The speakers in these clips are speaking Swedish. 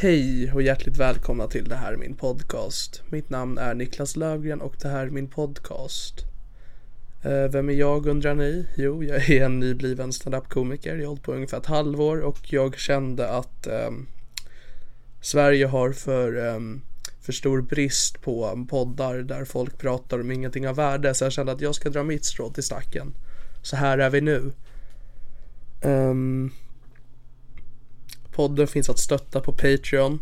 Hej och hjärtligt välkomna till Det här är min podcast. Mitt namn är Niklas Lövgren och det här är min podcast. Eh, Vem är jag undrar ni? Jo, jag är en nybliven standup-komiker. Jag har hållit på ungefär ett halvår och jag kände att ehm, Sverige har för, ehm, för stor brist på poddar där folk pratar om ingenting av värde. Så jag kände att jag ska dra mitt strå till stacken. Så här är vi nu. Ehm, Podden finns att stötta på Patreon.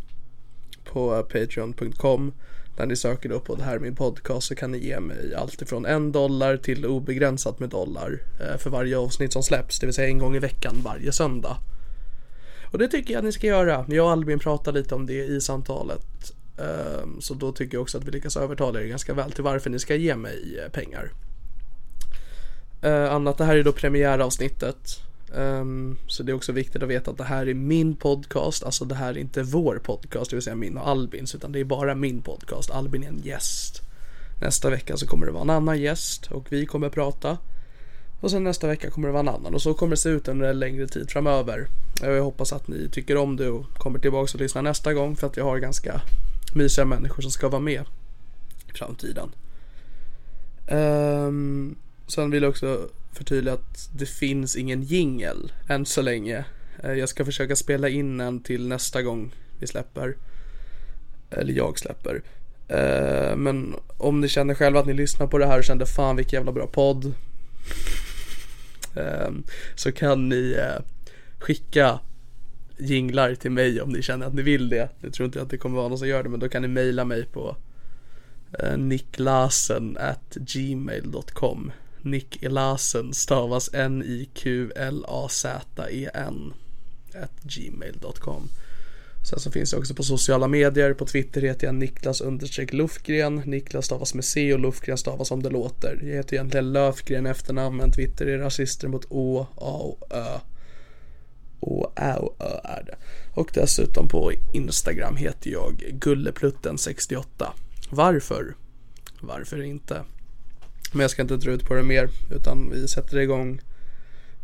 På eh, patreon.com. Där ni söker då på det här är min podcast så kan ni ge mig allt ifrån en dollar till obegränsat med dollar. eh, För varje avsnitt som släpps, det vill säga en gång i veckan varje söndag. Och det tycker jag att ni ska göra. Jag och Albin pratade lite om det i samtalet. Ehm, Så då tycker jag också att vi lyckas övertala er ganska väl till varför ni ska ge mig eh, pengar. Eh, annat, det här är då premiäravsnittet. Ehm, så det är också viktigt att veta att det här är min podcast, alltså det här är inte vår podcast, det vill säga min och Albins, utan det är bara min podcast. Albin är en gäst. Nästa vecka så kommer det vara en annan gäst och vi kommer prata. Och sen nästa vecka kommer det vara en annan och så kommer det se ut under en längre tid framöver. Och Jag hoppas att ni tycker om det och kommer tillbaka och lyssnar nästa gång för att jag har ganska mysiga människor som ska vara med i framtiden. Ehm, Sen vill jag också förtydliga att det finns ingen jingel än så länge. Eh, Jag ska försöka spela in en till nästa gång vi släpper. Eller jag släpper. Eh, Men om ni känner själva att ni lyssnar på det här och kände fan vilken jävla bra podd. eh, Så kan ni eh, skicka jinglar till mig om ni känner att ni vill det. Jag tror inte att det kommer vara någon som gör det men då kan ni mejla mig på Niklasen Eh, at gmail.com Niklasen stavas N-I-Q-L-A-Z-E-N E at gmail.com Sen så finns jag också på sociala medier. På Twitter heter jag Niklas understreck Lufgren. Niklas stavas med C och Lufgren stavas som det låter. Jag heter egentligen Löfgren i efternamn men Twitter är rasister mot Å, A och Ö. Och Ä och Ö är det. Och dessutom på Instagram heter jag Gulleplutten68. Varför? Varför inte? Men jag ska inte dra ut på det mer utan vi sätter igång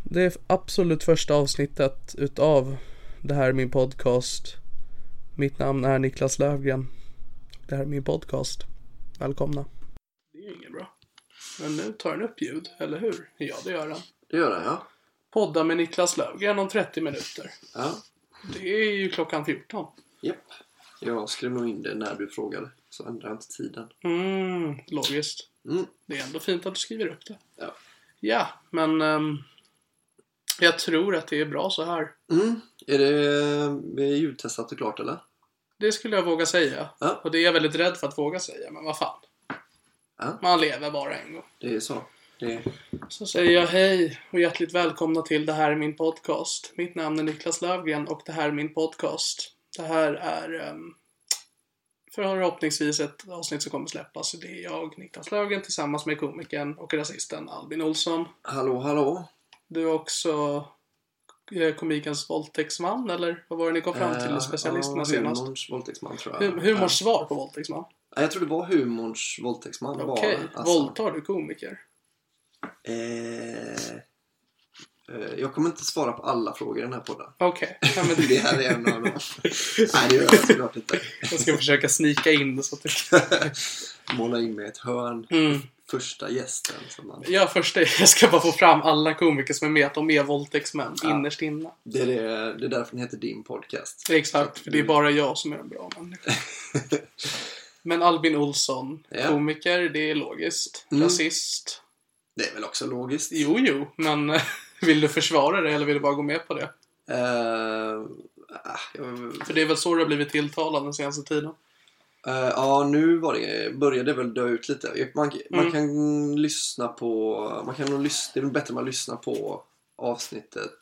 det absolut första avsnittet utav det här är min podcast. Mitt namn är Niklas Lövgren. Det här är min podcast. Välkomna. Det är inget bra. Men nu tar den upp ljud, eller hur? Ja, det gör den. Det gör den ja. Podda med Niklas Lövgren om 30 minuter. Ja. Det är ju klockan 14. Japp. Jag skrev nog in det när du frågade. Så ändrade jag inte tiden. Mm, logiskt. Mm. Det är ändå fint att du skriver upp det. Ja. Ja, men ehm, jag tror att det är bra så här. Mm. Är det eh, ljudtestat och klart eller? det skulle jag våga säga. Ja. Och det är jag väldigt rädd för att våga säga, men vad fan. Ja. Man lever bara en gång. Det är så. Det är... Så säger jag hej och hjärtligt välkomna till Det här är min podcast. Mitt namn är Niklas Lövgren och det här är min podcast. Det här är um, förhoppningsvis ett avsnitt som kommer släppas. Det är jag, Niklas Lövgren, tillsammans med komikern och rasisten Albin Olsson. Hallå, hallå. Du är också eh, komikens våldtäktsman, eller vad var det ni kom fram till i Eh, specialisterna ja, senast? Humorns våldtäktsman tror jag. Hur, humorns svar på våldtäktsman? Ja, jag tror det var humorns våldtäktsman. var Okej, det, alltså. våldtar du komiker? Eh, eh, jag kommer inte svara på alla frågor i den här podden. Okej, ja, men Det här är en av dem. Nej, det gör jag såklart inte. jag ska försöka snika in det så att du... Måla in mig i ett hörn. Mm. Första gästen. Som man... Ja, först är, jag ska bara få fram alla komiker som är med, att de är våldtäktsmän Ja. innerst inne. det, är det, det är därför den heter din podcast. Exakt, för det är bara jag som är en bra människa. Men Albin Olsson, Ja. komiker, det är logiskt. Mm. Rasist. Det är väl också logiskt. Eh, Jo, jo, men vill du försvara det eller vill du bara gå med på det? Eh, ah, jag, För det är väl så du har blivit tilltalad den senaste tiden? Eh, ja, nu var det, började det väl dö ut lite. Jag- Man, man Mm. kan lyssna på... Man kan nog lyssna, det är väl bättre om man lyssnar på avsnittet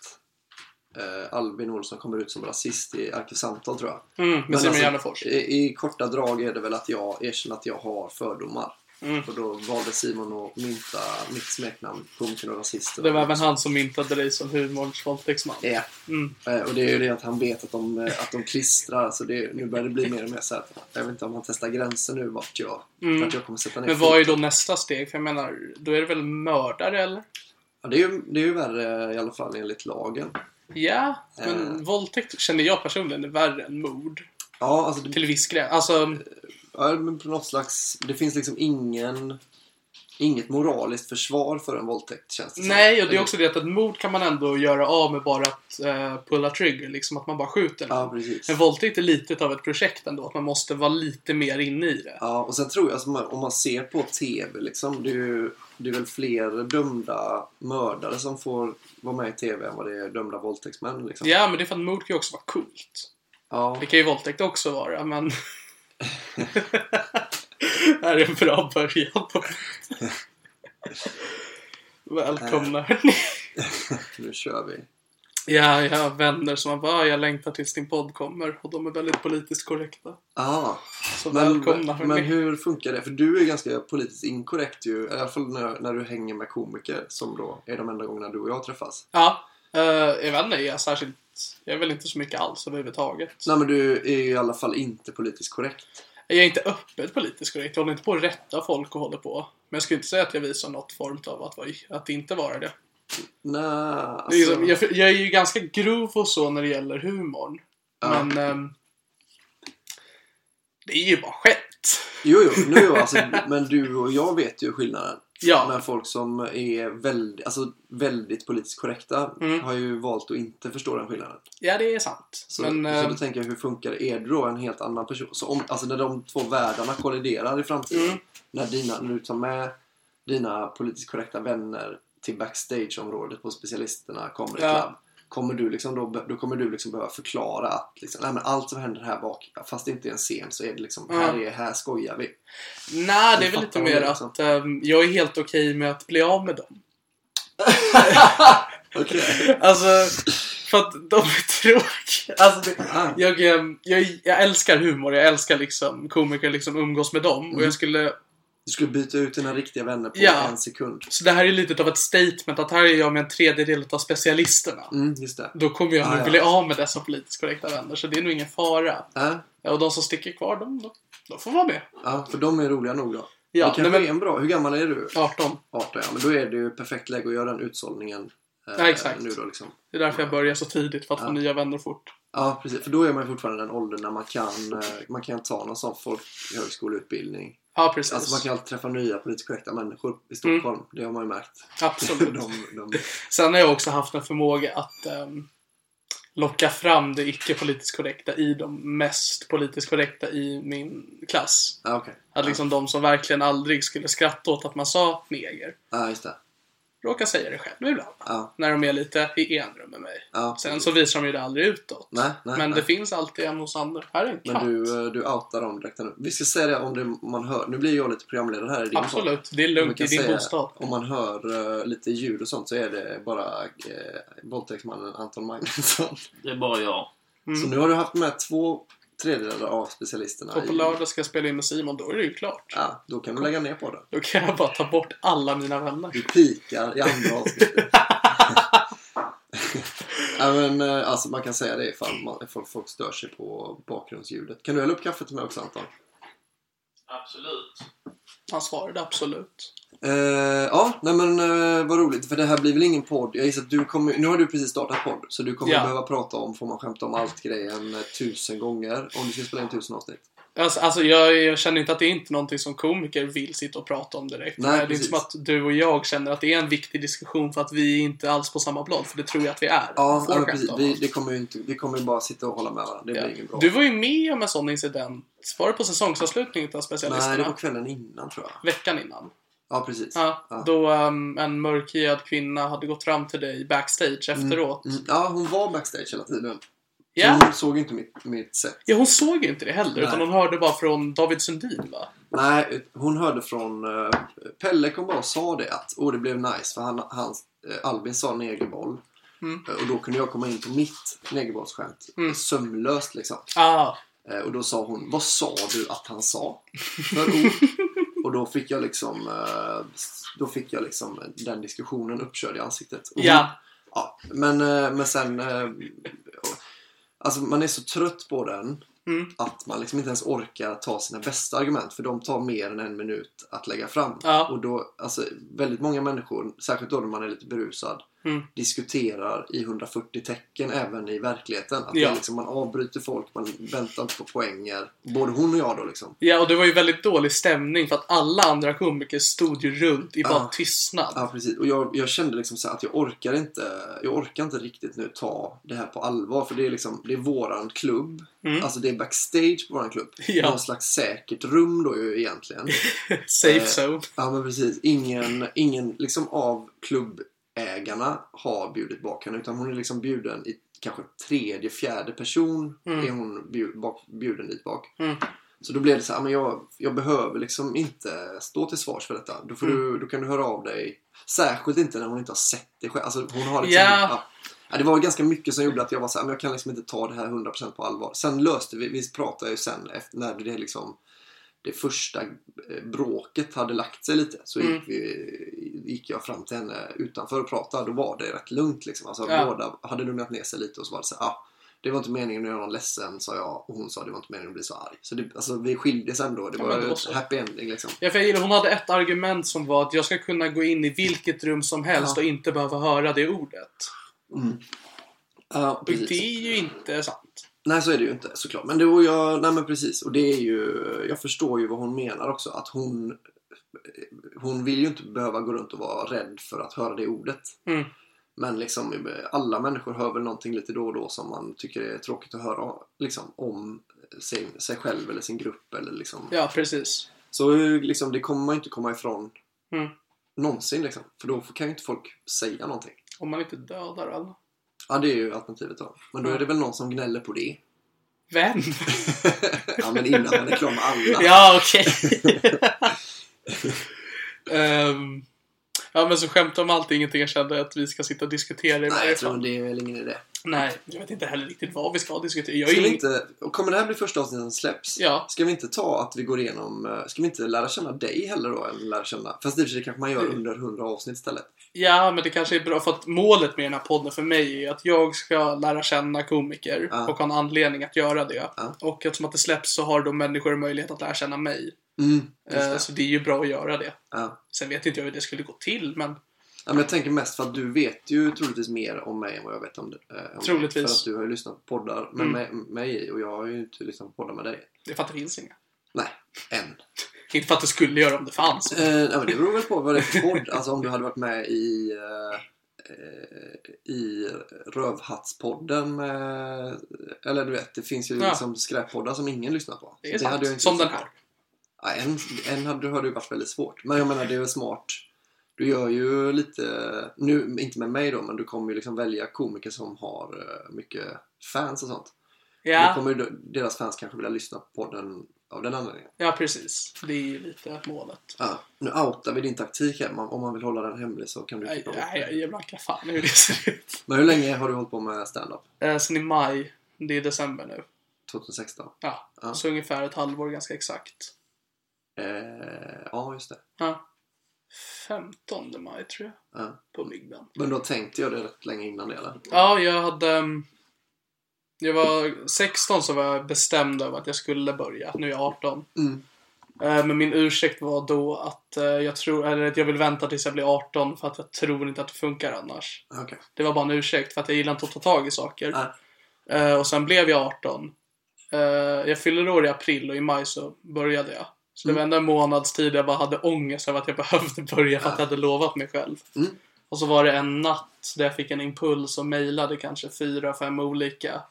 eh, Albin Olsson kommer ut som rasist i Arkivsamtal, tror jag. Mm, med Simon alltså, Gärdenfors. I, I korta drag är det väl att jag erkänner att jag har fördomar. Mm. Och då valde Simon att mynta mitt smeknamn, punkten och rasisten. Det var även han som myntade dig som humorns våldtäktsman. Ja, Mm. eh, och det är ju det att han vet att de, eh, att de klistrar. Så det, nu börjar det bli mer och mer så här att jag vet inte om han testar gränser nu vart jag, Mm. vart jag kommer sätta ner Men vad är då nästa steg? För jag menar, då är det väl mördare eller? Ja, det, är ju, det är ju värre i alla fall enligt lagen. Ja, men Eh. våldtäkt känner jag personligen är värre än mord. Ja, alltså det, Till viss gräns. Eh, Alltså, ja, men på något slags... Det finns liksom ingen... Inget moraliskt försvar för en våldtäkt känns det som. nej, och det är Eller- också det att ett mord kan man ändå göra av med bara att eh, pulla trigger, liksom att man bara skjuter någon. Ja, precis. Men våldtäkt är lite av ett projekt ändå, att man måste vara lite mer inne i det. Ja, och sen tror jag, alltså, man- om man ser på TV liksom, det är ju det är väl fler dömda mördare som får vara med i TV än vad det är dömda våldtäktsmän liksom. Ja, men det är för att mord kan ju också vara coolt. Ja, Det kan ju våldtäkt också vara, men... det här är en bra början på... Välkomna hörni. nu kör vi. Ja, jag har vänner som bara "Ah, jag längtar tills din podd kommer och de är väldigt politiskt korrekta. Ja, Så Ah, men, välkomna hörni. men hur funkar det? För du är ganska politiskt inkorrekt ju, i alla fall när, när du hänger med komiker som då är de enda gångerna du och jag träffas. Ja, eh, jag vet inte, jag är särskilt... Jag är väl inte så mycket alls överhuvudtaget. Nej men du är ju i alla fall inte politiskt korrekt. Jag är inte öppet politiskt korrekt, jag håller inte på att rätta folk och håller på. Men jag skulle inte säga att jag visar något form av att, vara- att inte vara det. Nej, Det är ju alltså, som- jag, jag är ju ganska grov och så när det gäller humorn. Ja. Men... ehm, det är ju bara skämt. Jo, jo, nu alltså, men du och jag vet ju skillnaden. Ja. Men folk som är väldigt, alltså, väldigt politiskt korrekta Mm. har ju valt att inte förstå den skillnaden. Ja, det är sant. Så, men, så ehm, då tänker jag, hur funkar det? Är du då en helt annan person? Så om, alltså när de två världarna kolliderar i framtiden, Mm. när, dina, när du tar med dina politiskt korrekta vänner till backstageområdet på specialisterna kommer i Ja. klubb. Kommer du liksom då, be- då kommer du liksom behöva förklara att liksom, nej, men allt som händer här bak, fast det inte är en scen, så är det liksom, Ja. här, är, här skojar vi. Nej, det Du är väl lite fattar vad mer det är, liksom. att ehm, jag är helt okej med att bli av med dem. Okej. Alltså, för att de är tråkiga. Alltså, det, Ah. jag, ehm, jag, jag älskar humor, jag älskar liksom komiker, liksom umgås med dem. Mm. Och jag skulle, Du skulle byta ut dina riktiga vänner på Ja. en sekund. så det här är lite av ett statement att här är jag med en tredjedel av specialisterna. Mm, just det. Då kommer jag Ah, nog ja. bli av med dessa politiskt korrekta vänner, så det är nog ingen fara. Ja, Ja, och de som sticker kvar, de, de, de får vara med. Äh, ja, för de är roliga nog då. Ja, det kanske nej, men- är en bra... Hur gammal är du? 18. 18 ja, men då är det ju perfekt läge att göra den utsållningen. eh, Ja, exakt. Nu då liksom. Det är därför jag börjar så tidigt, för att få nya vänner fort. Ja, precis. För då är man ju fortfarande i den åldern när man kan, eh, man kan ta någon sån folkhögskoleutbildning. Ja, precis. Mm. Alltså man kan alltid träffa nya politiskt korrekta människor i Stockholm. Det har man ju märkt. Absolut. De, de, Sen har jag också haft en förmåga att ehm, locka fram det icke politiskt korrekta i de mest politiskt korrekta i min klass. ja, okej. Att liksom de som verkligen aldrig skulle skratta åt att man sa neger. Ja, just det. råkar säga det själv ibland. Ja. När de är lite i enrum med mig. Ja. Sen så visar de ju det aldrig utåt. Nej, nej, men nej. det finns alltid en hos andra. Här är en katt. Men du, eh, du outar dem direkt nu. Vi ska säga det om det man hör. Nu blir jag lite programledare här i din podd. Absolut, det är Man lugnt kan i din säga, bostad. Om man hör eh, lite ljud och sånt så är det bara eh, våldtäktsmannen Anton Magnusson. Det är bara jag. Så nu har du haft med två tredjedelar av specialisterna. Och på i- lördag ska jag spela in med Simon, då är det ju klart. Ja, då kan du lägga ner på det. Då kan jag bara ta bort alla mina vänner. Du pikar i andra avsnittet. ja, men, eh, alltså, man kan säga det ifall, man, ifall folk stör sig på bakgrundsljudet. Kan du hälla upp kaffet till mig också Anton? Absolut. Han svarade absolut. Eh, ja, nej men eh, vad roligt. För det här blir väl ingen podd. Jag gissar att du kommer, nu har du precis startat podd. Så du kommer Ja. behöva prata om, får man skämta om allt grejen eh, tusen gånger. Om du ska spela in tusen avsnitt. Alltså, alltså jag, jag känner inte att det är inte någonting som komiker vill sitta och prata om direkt. Nej, det är inte precis. som att du och jag känner att det är en viktig diskussion för att vi är inte alls på samma blad, för det tror jag att vi är. Ja, Får ja men skämta precis. om Vi, allt. det kommer ju inte, vi kommer ju bara sitta och hålla med varandra. Det Ja. blir ingen bra. Du var ju med om en sån incident. Var det på säsongsavslutningen av specialisterna? Nej, det var kvällen innan tror jag. Veckan innan. Ja, precis. Ja, Ja. Då ehm, en mörkhyad kvinna hade gått fram till dig backstage efteråt. Mm, ja, hon var backstage hela tiden. Ja. Hon såg inte mitt, mitt set. ja, hon såg ju inte det heller, Nej. utan hon hörde bara från David Sundin va? Nej, ut- hon hörde från... eh, Pelle kom bara och sa det att åh det blev nice för han, han, eh, Albin sa negerboll. Mm. Eh, Och då kunde jag komma in på mitt negerbollsskämt. Mm. Sömlöst liksom. Ah, Eh, Och då sa hon Vad sa du att han sa? För ord. Och då fick jag liksom eh, Då fick jag liksom den diskussionen uppkörd i ansiktet. Och hon- ja. Ja, men, eh, men sen... eh, och- Alltså man är så trött på den Mm. att man liksom inte ens orkar ta sina bästa argument för de tar mer än en minut att lägga fram. Ja. Och då, alltså, väldigt många människor, särskilt då när man är lite berusad, Mm. diskuterar i 140 tecken även i verkligheten. Att Ja. det är liksom, man avbryter folk, man väntar inte på poänger. Både hon och jag då liksom. Ja, och det var ju väldigt dålig stämning för att alla andra komiker stod ju runt i bara Ja. tystnad. Ja, precis. Och jag, jag kände liksom så här att jag orkar, inte, jag orkar inte riktigt nu ta det här på allvar. För det är liksom, det är våran klubb. Mm. Alltså det är backstage på våran klubb. Ja. Någon slags säkert rum då ju egentligen. Safe Eh, zone. Ja men precis. Ingen, ingen liksom av klubbägarna har bjudit bak henne. Utan hon är liksom bjuden i kanske tredje, fjärde person. Mm. Är hon bjud, bak, bjuden dit bak. Mm. Så då blev det så här, men jag, jag behöver liksom inte stå till svars för detta. Då, får Mm. du, då kan du höra av dig. Särskilt inte när hon inte har sett det själv. Alltså, hon har liksom, Ja. ja. Ja, det var ganska mycket som gjorde att jag var så här, men jag kan liksom inte ta det här 100% på allvar. Sen löste vi, vi pratade ju sen efter, när det liksom det första eh, bråket hade lagt sig lite så Mm. gick, vi, gick jag fram till henne utanför och pratade. Då var det rätt lugnt liksom. Alltså, Ja. Båda hade lugnat ner sig lite och så var det så här, ah, det var inte meningen att göra någon ledsen sa jag och hon sa det var inte meningen att bli så arg. Så det, alltså, vi skildes ändå. Det Ja, var men då ett så. happy ending liksom. Ja, för jag gillar, hon hade ett argument som var att jag ska kunna gå in i vilket rum som helst Ja. och inte behöva höra det ordet. Ja, Och precis. det är ju inte sant. Nej, så är det ju inte såklart. Men det var jag, nej men precis. Och det är ju, jag förstår ju vad hon menar också. Att hon, hon vill ju inte behöva gå runt och vara rädd för att höra det ordet. Mm. Men liksom, alla människor hör väl någonting lite då och då som man tycker är tråkigt att höra liksom, om sig, sig själv eller sin grupp. Eller liksom. Ja, precis. Så liksom, det kommer man ju inte komma ifrån Mm. någonsin. Liksom. För då kan ju inte folk säga någonting. Om man inte dödar alla. Ja, det är ju alternativet då. Men då Mm. är det väl någon som gnäller på det. Vem? ja, men innan man är klar med alla. ja, okej. Ehm, ja, men så skämt om allt är ingenting jag kände att vi ska sitta och diskutera i Nej, varje jag tror fall. det är väl ingen idé. Nej, jag vet inte heller riktigt vad vi ska diskutera. Jag är Ska vi ingen- inte, och kommer det här bli första avsnittet som släpps? Ja. Ska vi inte ta att vi går igenom, eh, ska vi inte lära känna dig heller då? Eller lära känna, fast i och för sig kanske man Mm. gör under 100 avsnitt istället. Ja, men det kanske är bra för att målet med den här podden för mig är att jag ska lära känna komiker Ja. och ha en anledning att göra det. Ja. Och eftersom att det släpps så har då människor möjlighet att lära känna mig. Mm, just Eh, det. Så det är ju bra att göra det. Ja. Sen vet inte jag hur det skulle gå till, men Ja, men jag tänker mest för att du vet ju troligtvis mer om mig än vad jag vet om, eh, om dig. Troligtvis. Mm. För att du har ju lyssnat på poddar med mig- mig och jag har ju inte lyssnat på poddar med dig. det är för att det finns inga. Nej, än. Inte för att det skulle göra om det fanns. Eh, nej, men det beror väl på vad det är för podd. Alltså om du hade varit med i, eh, eh, i Rövhattspodden med, eller du vet, det finns ju Ja. liksom skräppoddar som ingen lyssnar på. Det Så är sant. hade jag inte Som den lyssnat på. här. Ja, en, en hade, hade ju varit väldigt svårt. Men jag menar, det är väl smart. Du gör ju lite, nu inte med mig då, men du kommer ju liksom välja komiker som har eh, mycket fans och sånt. Då Ja, kommer ju deras fans kanske vilja lyssna på den av den anledningen. ja precis. Det är ju lite målet. Ja, nu outar vi din taktik här. Man- Om man vill hålla den hemlig så kan du Nej, prova. nej, jag ger blanka fan hur det ser ut. Men hur länge har du hållit på med stand-up? Eh, sen i maj, det är december nu. 2016? Ja, Ja. så ungefär ett halvår ganska exakt. Eh, ja, just det. Ja. 15 maj tror jag, Ja. på Myggan. Men då tänkte jag det rätt länge innan det eller? Ja, jag hade... ehm, Jag var 16 så var jag bestämd över att jag skulle börja. Nu är jag 18. Mm. Eh, Men min ursäkt var då att eh, jag tror, eller att jag vill vänta tills jag blir 18 för att jag tror inte att det funkar annars. Okej. Det var bara en ursäkt för att jag gillar inte att ta tag i saker. Nej. Eh, Och sen blev jag 18. Eh, Jag fyllde år i april och i maj så började jag. Så Mm. det var ändå en månads tid jag bara hade ångest över att jag behövde börja för att jag hade lovat mig själv. Mm. Och så var det en natt där jag fick en impuls och mejlade kanske fyra, fem olika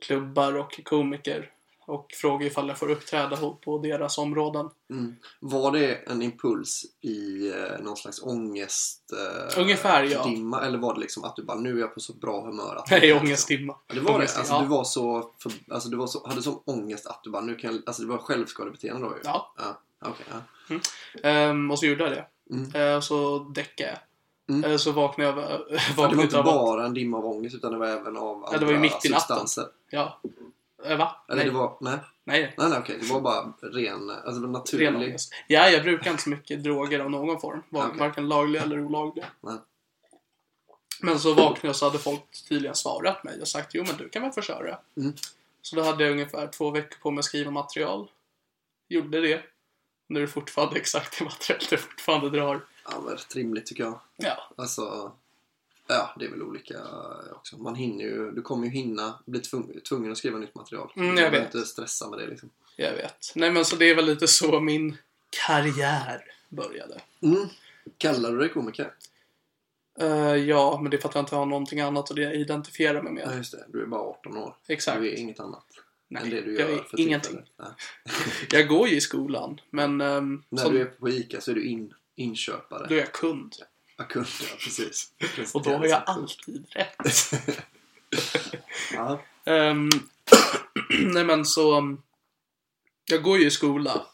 klubbar och komiker och frågade ifall jag får uppträda ho- på deras områden. Mm. Var det en impuls i eh, någon slags ångest... Eh, Ungefär, ja. Dimma, eller var det liksom att du bara nu är jag på så bra humör att... Nej, ångestdimma. Ja, Det var det. Ångest, Alltså, ja. du var så... För, alltså, du var så, hade sån ångest att du bara nu kan jag, Alltså det var självskadebeteende då ju. Ja. ja. Okej, ja. Ehm, och så gjorde jag det. Mm. Eh, och så däckade jag. Mm. Eh, så vaknade jag av- Men Det var vaknade inte av att- bara en dimma av ångest utan det var även av andra Ja, det var ju mitt i natten. substanser. Ja. Eh, va? Eller nej. det var... Nej, nej. nej, nej okej. Det var bara ren... Alltså det var naturlig... Ren ångest. Ja, jag brukar inte så mycket droger av någon form. Var- Okej. Varken lagliga eller olagliga. Nej. Men så vaknade jag så hade folk tydligen svarat mig och sagt jo men du kan väl få köra. Mm. Så då hade jag ungefär två veckor på mig att skriva material. Gjorde det. Nu är det fortfarande exakt det materialet jag fortfarande drar. Ja, men rätt rimligt tycker jag. Ja, Alltså, ja, det är väl olika också. Man hinner ju, du kommer ju hinna bli tvung, tvungen att skriva nytt material. Mm, jag du behöver vet. inte stressa med det liksom. jag vet. Nej men så det är väl lite så min karriär började. Mm. Kallar du dig komiker? Eh, ja, men det är för att jag inte har någonting annat att identifiera mig med. Ja, just det. Du är bara 18 år. Exakt. Du är inget annat Nej, än det du jag gör är för ingenting. tillfället. Nej. Jag går ju i skolan, men ehm, När som, du är på ICA så är du in, inköpare. då är jag kund. Ja, kund, ja, precis. Och då har jag alltid rätt. Ja. Ehm, nej men så... um, Jag går ju i skola.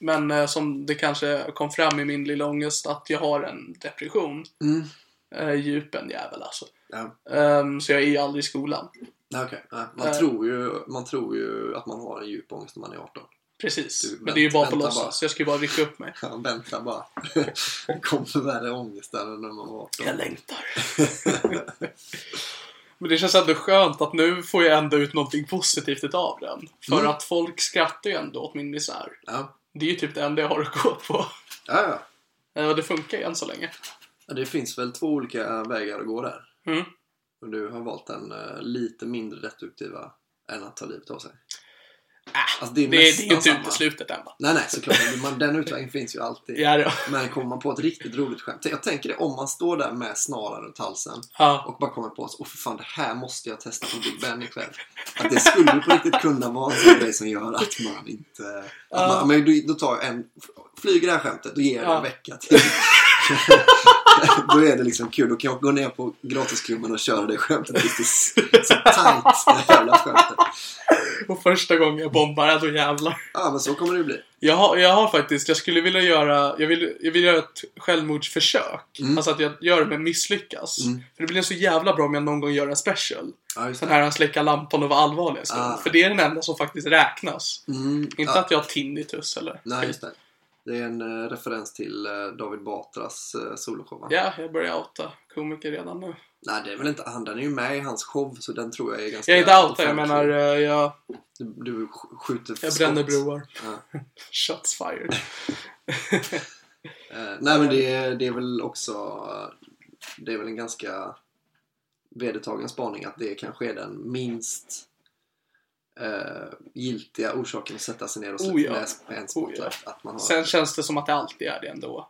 Men eh, som det kanske kom fram i min lilla ångest att jag har en depression. Mm. Uh, djupen jävel alltså. Ja. Ehm, så jag är ju aldrig i skolan. Ja, okej. Ja, man, Eh. tror ju, man tror ju att man har en djup ångest när man är 18. Precis. Du, men det är ju vänta- bara på vänta låtsas. Jag ska ju bara rycka upp mig. Ja, vänta bara. Det kommer värre ångest där än när man var 18. Jag längtar. Men det känns ändå skönt att nu får jag ändå ut någonting positivt utav den. För Mm. att folk skrattar ju ändå åt min misär. Ja, Det är ju typ det enda jag har att gå på. ja, ja. Eh, Och det funkar ju än så länge. Ja, Det finns väl två olika vägar att gå där. Mm. Och du har valt den eh, lite mindre destruktiva än att ta livet av sig. Alltså, det Det, är är- det är ju nästan typ inte samma. uteslutet än va? Nej, nej, såklart. Man, den utvägen finns ju alltid. Ja, det- Men kommer man på ett riktigt roligt skämt. Jag tänker det om man står där med snaran runt halsen ja. och bara kommer på att åh för fan, det här måste jag testa på Big Ben ikväll. Att det skulle på riktigt kunna vara en sån grej som gör att man inte... Att man, men då- då tar jag en... Flyger det här skämtet, då ger jag det Ja. en vecka till. då är det liksom kul. Då kan jag gå ner på gratisklubben och köra det skämtet. Det är så, så tajt, det här jävla skämtet. Och första gången jag bombar, ja, då jävlar. Ja, men så kommer det ju bli. Jag har, jag har faktiskt, jag skulle vilja göra, jag vill, jag vill göra ett självmordsförsök. Mm. Alltså att jag gör det men misslyckas. Mm. För det blir så jävla bra om jag någon gång gör en special. Ja, just Den det. här att släcka lampan och vara allvarlig en stund. Ah. För det är den enda som faktiskt räknas. Mm, Inte ja. att jag har tinnitus eller Nej, just det. Det är en eh, referens till eh, David Batras eh, soloshow, va? Ja, jag börjar outa komiker redan nu. Nej, det är väl inte han. Den är ju med i hans show, så den tror jag är ganska... Jag är inte outa, jag offentlig. menar eh, jag, Du, du sk- skjuter jag skott. bränner broar. Ja. Shots fired. Eh, nej, men det, är- det är väl också... Det är väl en ganska vedertagen spaning att det kanske är den minst eh, giltiga orsaken att sätta sig ner och Oh ja. läsa med en spotlight. Att man har... Sen känns det som att det alltid är det ändå.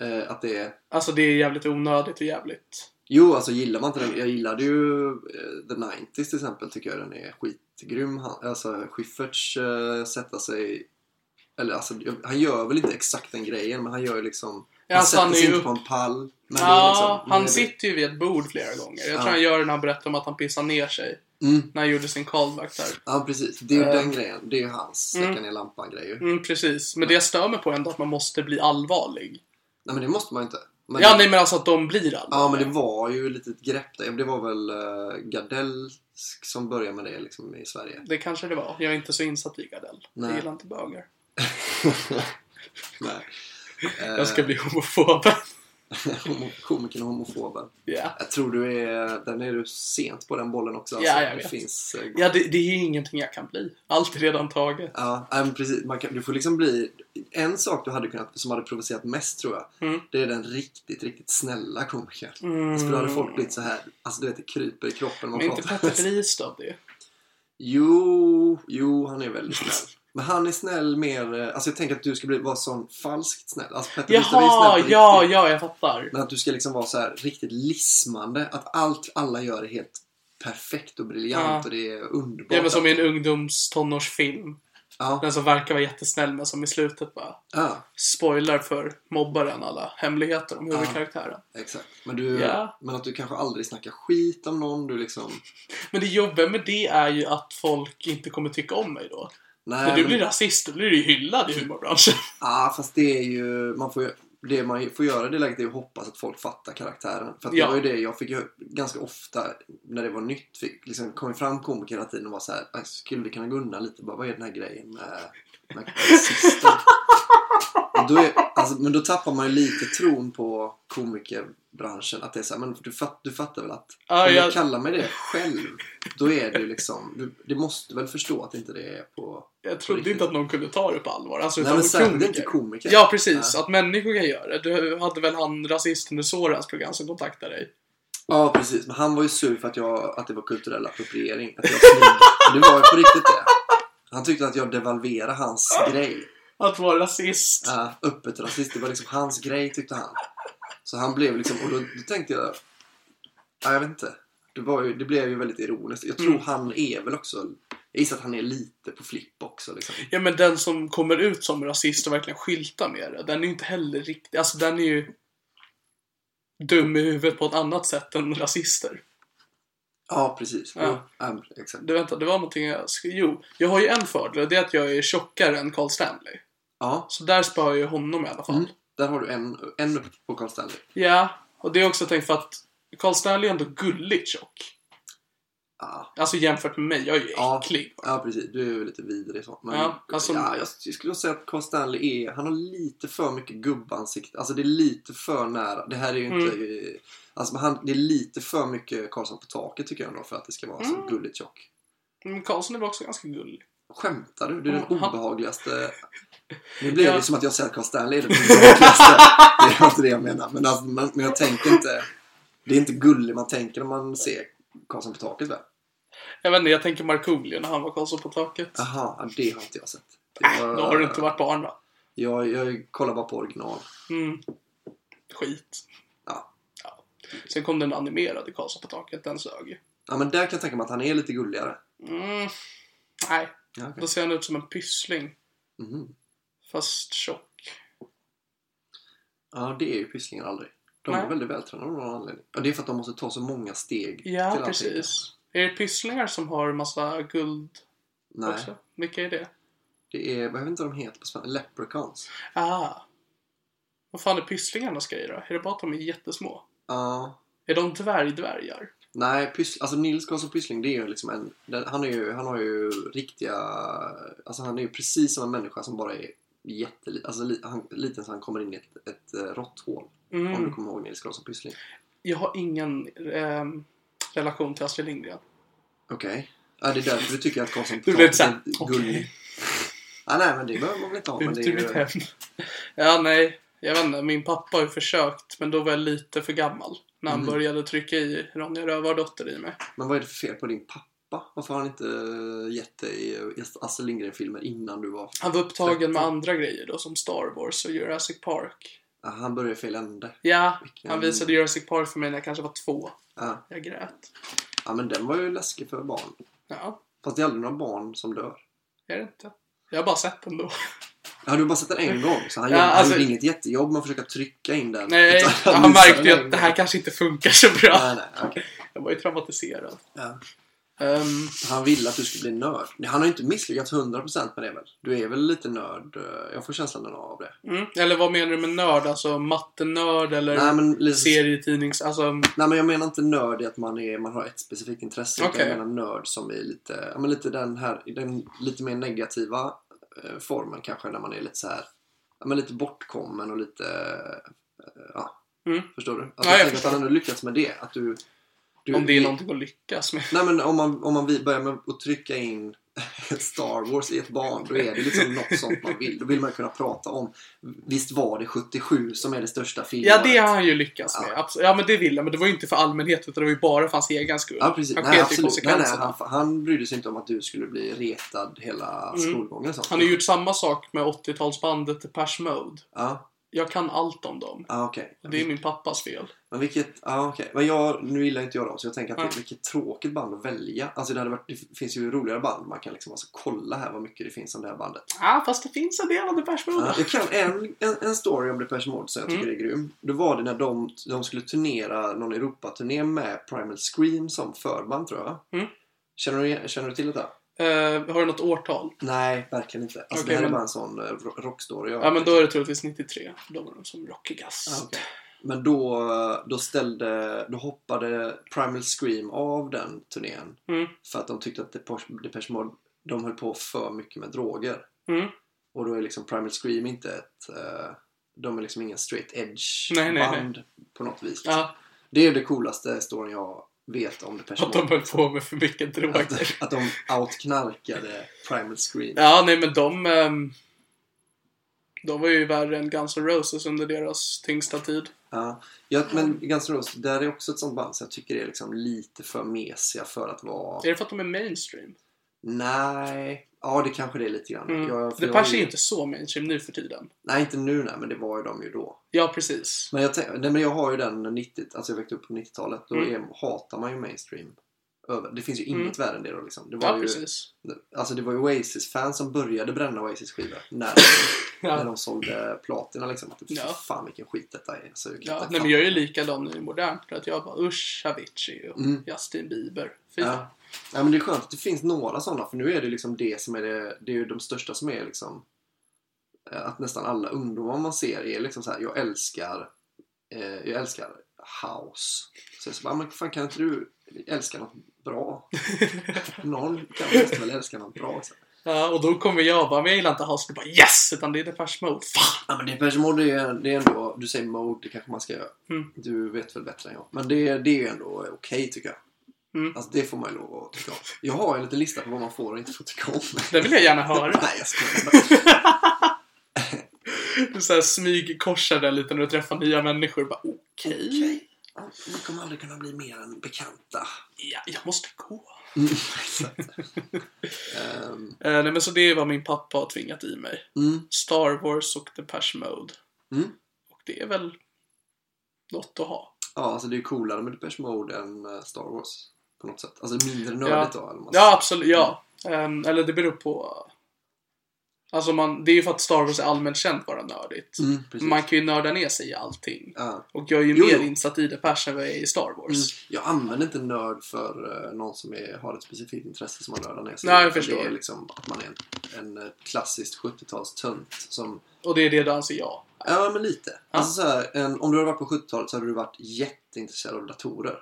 eh, att det är... Alltså det är jävligt onödigt och jävligt... Jo, alltså gillar man inte den. Jag gillade ju eh, The 90s till exempel. Tycker jag den är skitgrym. Han, alltså Schyfferts eh, sätta sig... Eller alltså, jag- han gör väl inte exakt den grejen, men han gör ju liksom... Ja, alltså, han är sätter sig ju inte på en pall. Men det är Ja, liksom, men han det- sitter ju vid ett bord flera gånger. Jag Ja. tror han gör det när han berättar om att han pissar ner sig. Mm. När han gjorde sin callback där. Ja, precis. Det är ju Eh. den grejen. Det är ju hans släcka ner lampan-grej ju. Mm, precis. Men det jag stör mig på är ändå att man måste bli allvarlig. Nej, men det måste man ju inte. Men ja, det- nej men alltså att de blir allvarliga. Ja, men det var ju ett litet grepp där. Det var väl eh, Gardell som började med det liksom i Sverige. Det kanske det var. Jag är inte så insatt i Gardell. Jag Nej. gillar inte bögar. Nej. Eh. Jag ska bli homofob. Homo- Komikern och homofoben. ja. Jag tror du är... Den är du sent på den bollen också. Ja, jag det vet. finns... eh, Ja, det, det är ju ingenting jag kan bli. Allt är redan taget. Ja, nej, men precis. Man kan, du får liksom bli... En sak du hade kunnat, som hade provocerat mest tror jag, Mm. det är den riktigt, riktigt snälla komikern. Mm. Alltså, för då hade folk blivit så här, alltså du vet det kryper i kroppen när man Men inte pratar. Petter Fristad det. Jo, jo, han är väldigt snäll. Men han är snäll mer, eh, alltså jag tänker att du ska bli, vara sån falskt snäll. Alltså Petter Lindström är ju Jaha, snäll på ja, riktigt. ja, jag fattar. Men att du ska liksom vara så här riktigt lismande. Att allt alla gör är helt perfekt och briljant Ja. och det är underbart. Ja, men som i en ungdomstonårsfilm. ja. Den som verkar vara jättesnäll men som i slutet bara ja, spoilar för mobbaren alla hemligheter om huvudkaraktären. exakt. Men, du, Ja. men att du kanske aldrig snackar skit om någon. Du liksom... Men det jobbiga med det är ju att folk inte kommer tycka om mig då. Nej, När du men- blir rasist, då blir du ju hyllad Mm. i humorbranschen. Ja, fast det är ju... Man får, ju- det man får göra i det läget är att hoppas att folk fattar karaktären. För att Ja. det var ju det jag fick ju ganska ofta när det var nytt. Fick, liksom, kom ju fram komiker hela tiden och var så här, "Aj, skulle vi kunna gå undan lite? Bara, vad är den här grejen med, med rasister? Och då är, alltså, men då tappar man ju lite tron på komikerbranschen. Att det är så här, men du, fatt, du fattar väl att Ja, om jag- jag kallar mig det själv, då är det ju liksom, du, du måste väl förstå att inte det är på... Jag trodde inte att någon kunde ta det på allvar. Alltså, Nej, utan men särskilt komiker. inte komiker. Ja, precis. Att människor kan göra det. Du hade väl han rasisten i Sorans program som kontaktade dig? Ja, precis. Men han var ju sur för att, jag, att det var kulturell appropriering. Att jag snodde. Det var ju på riktigt det. Han tyckte att jag devalverade hans grej. Att vara rasist. Uh, öppet rasist. Det var liksom hans grej tyckte han. Så han blev liksom... Och då, då tänkte jag... Ja, jag vet inte. Det, var ju, det blev ju väldigt ironiskt. Jag tror han är väl också... Jag gissar att han är lite på flipp också. Liksom. Ja, men den som kommer ut som rasist och verkligen skyltar med det, den är ju inte heller riktig. Alltså, den är ju dum i huvudet på ett annat sätt än rasister. Ja, precis. Ja. Ja. Ja, exakt. Du, vänta, det var någonting jag... sk- Jo, jag har ju en fördel och det är att jag är tjockare än Carl Stanley. Ja, Så där sparar jag ju honom i alla fall. mm. där har du en, en uppe på Carl Stanley. Ja, och det är också tänkt för att Carl Stanley är ändå gulligt tjock. Ja. Alltså jämfört med mig, jag är ju äcklig. Ah. Ja, precis. Du är ju lite vidrig så. Men Ja, ja, alltså- jag skulle säga att Carl Stanley är, han har lite för mycket gubbansikte. Alltså det är lite för nära. Det här är ju inte... Mm. Alltså men han, det är lite för mycket Karlsson på taket tycker jag ändå för att det ska vara Mm. så gulligt tjock. Men Karlsson är väl också ganska gullig. Skämtar du? Det är den Mm, han- obehagligaste... Nu blir det Ja. ju som att jag säger att Carl Stanley är den obehagligaste. det är inte det jag menar. Men, alltså, man, men jag tänker inte... Det är inte gullig man tänker när man ser Karlsson på taket väl? Jag vet inte, jag tänker Markoolio när han var Karlsson på taket. Äh, Aha, ja, det har inte jag sett. Det var- Då har du inte varit barn va? Jag, jag kollar bara på original. Mm. Skit. Ja. Sen kom den animerade Karlsson på taket, den sög ju. ja, men där kan jag tänka mig att han är lite gulligare. Mm. Nej, Ja, okej. då ser han ut som en pyssling. Mhm. Fast tjock. ja det är ju Pysslingar aldrig. De Nej. är väldigt vältränade av någon anledning. Ja, det är för att de måste ta så många steg. Ja, allting. precis. Är det pysslingar som har massa guld Nej, också? Vilka är det? det är, jag vet inte vad de heter på svenska. Leprechauns. Ah. Vad fan är pysslingarnas grejer då? Är det bara att de är jättesmå? Ja. Är de dvärgdvärgar? Nej, Pyss, alltså Nils Karlsson Pyssling det är ju liksom en... Den, han, är ju, han har ju riktiga... Alltså han är ju precis som en människa som bara är jätteliten. Alltså li, han, liten så han kommer in i ett, ett eh, råtthål. Om du Mm. kommer ihåg Nils Karlsson Pyssling. Jag har ingen ehm, relation till Astrid Lindgren. Okej. Ja, det är därför du tycker att Karlsson Du blev såhär, är okej. gullig. Ja, nej, men det behöver man väl inte ha. Men Ut det ur är mitt ju... hem. ja, nej. Jag vet inte, min pappa har ju försökt, men då var jag lite för gammal. När han Mm. började trycka i Ronja Rövardotter i mig. Men vad är det för fel på din pappa? Varför har han inte gett dig eh, Astrid Lindgren-filmer innan du var... Han var upptagen med Tretton. andra grejer då, som Star Wars och Jurassic Park. Ja, han började i fel ände. Ehm, Ja, Vilken- han visade Jurassic Park för mig när jag kanske var två. Ja. Jag grät. ja, men den var ju läskig för barn. Ja, Fast det är aldrig några barn som dör. är det inte? Jag har bara sett den då. Ja, du har bara sett den en gång. Så han, Ja, gjorde, alltså- han gjorde inget jättejobb med att försöka trycka in den. Nej, Utan han missade märkte ju den. att det här kanske inte funkar så bra. Nej, nej, okej. Jag var ju traumatiserad. ja. Ehm, Han ville att du skulle bli nörd. Han har ju inte misslyckats 100% med det väl? Du är väl lite nörd? eh, Jag får känslan av det. mm. Eller vad menar du med nörd? Alltså mattenörd eller Nej, men lite- serietidnings... Alltså, Nej men jag menar inte nörd i att man, är, man har ett specifikt intresse. utan Okej. Jag menar nörd som är lite, ja, men lite den här, den lite mer negativa eh, formen kanske. När man är lite så här, ja, men lite bortkommen och lite, eh, ja. Mm. Förstår du? Ja, jag jag tänker att förstår. han ändå lyckats med det. Att du, du om det är någonting att lyckas med. Nej men om man, om man vill börja med att trycka in Star Wars i ett barn, då är det liksom något sånt man vill. Då vill man kunna prata om, visst var det 77 som är det största filmen? Ja, det har han ju lyckats med. Absolut. Ja, men det vill han. Men det var ju inte för allmänheten, utan det var ju bara för hans egen skull. Ja, precis. Han nej, sket i absolut. Nej, nej, konsekvenserna. han, han brydde sig inte om att du skulle bli retad hela skolgången. och Mm. Sånt. Han har ju gjort samma sak med 80-talsbandet Depeche Mode. Ja, Jag kan allt om dem. ja okej. Det är min pappas fel. Men vilket... Ja, okej. Men jag, nu gillar inte jag dem, så jag tänker att Nej. det, vilket tråkigt band att välja. Alltså, det, hade varit, det finns ju roligare band. Man kan liksom alltså kolla här vad mycket det finns om det här bandet. Ja, fast det finns en del av Depeche Ja, Mode. jag kan en, en, en story om Depeche Mode som jag tycker Mm. är grym. Det var det när de, de skulle turnera någon Europaturné med Primal Scream som förband, tror jag. Mm. Känner, du, igen- känner du till detta? Eh, har du något årtal? Nej, verkligen inte. Alltså, Okej, det här men- är bara en sån eh, ro- rockstory. jag- Ja, men då är det troligtvis 93. Då var de som rockigast. Ja, okej. Men då, då ställde, då hoppade Primal Scream av den turnén. Mm. För att de tyckte att Depeche Depeche Mode, de höll på för mycket med droger. Mm. Och då är liksom Primal Scream inte ett, eh, de är liksom ingen straight edge Nej, nej, band på något vis. Ja, Det är det coolaste storyn jag vet om Depeche att de Mode. höll på med för mycket droger. Att, att de outknarkade Primal Scream. Ja, nej men de... ehm, de var ju värre än Guns N' Roses under deras tyngsta tid. Ja, ja men Guns N' Roses, där är också ett sånt band som jag tycker är liksom lite för mesiga för att vara... Är det för att de är mainstream? Nej, ja det kanske det är lite grann. Mm. Jag- för Depeche jag var är ju- ju inte så mainstream nu för tiden. Nej, inte nu nej, men det var ju de ju då. Ja, precis. Men jag, tänk- nej, men jag har ju den 90, alltså jag växte upp på 90-talet. Då Mm. är, hatar man ju mainstream. Över. Det finns ju Mm. inget värre än det då liksom. Det var Ja, ju, precis. Alltså det var ju Oasis-fans som började bränna Oasis-skivor. När, när Ja. de sålde platina liksom. Att, fy Ja. Fan vilken skit detta är. Så jag kan Ja, inte nej, fatta. men jag är ju likadan nu i modernt. för Att jag bara usch, Avicii och Mm. Justin Bieber. Fy fan. Ja. ja, men det är skönt att det finns några sådana. För nu är det liksom det som är det, det är ju de största som är liksom eh, att nästan alla ungdomar man ser är liksom så här, jag älskar eh, jag älskar house. Så jag så bara, men fan kan inte du älska något bra? Någon kan måste väl älska något bra? Så. Ja, och då kommer jag bara, men jag gillar inte house. Du bara yes! Utan det är Depeche Mode. Fan! Ja, men Depeche Mode det är, det är ändå, du säger mode, det kanske man ska göra. Mm. Du vet väl bättre än jag. Men det, det är ju ändå okej tycker jag. Mm. Alltså det får man ju lov att tycka om. Jag har en liten lista på vad man får och inte får tycka om. Det vill jag gärna höra. Nej, jag skojar. Du så här smygkorsar den lite när du träffar nya människor. Bara "Oh, okej. Okej. Ja, Vi kommer aldrig kunna bli mer än bekanta. Ja, jag måste gå. Mm. Ehm, Eh, nej men så det är vad min pappa har tvingat i mig. mm, Star Wars och Depeche Mode. Mm. Och det är väl något att ha. ja, alltså det är ju coolare med Depeche Mode än eh, Star Wars. På något sätt. Alltså mindre nördigt då. Eller vad man Ja, absolut. Ja. mm. Ehm, eller det beror på... Alltså man, det är ju för att Star Wars är allmänt känt vara nördigt. säger. Mm, precis. Man kan ju nörda ner sig i allting. Ja. Och jag är ju Jo, mer jo. insatt i Depeche än vad jag är i Star Wars. Mm. Jag använder inte nörd för eh, någon som är, har ett specifikt intresse som man nördar ner sig i. Nej, jag För förstår. Det är liksom att man är en, en eh, klassisk 70-talstönt som Och det är det du anser jag. Ja, men lite. Alltså, så här, en, om du hade varit på 70-talet så hade du varit jätteintresserad av datorer.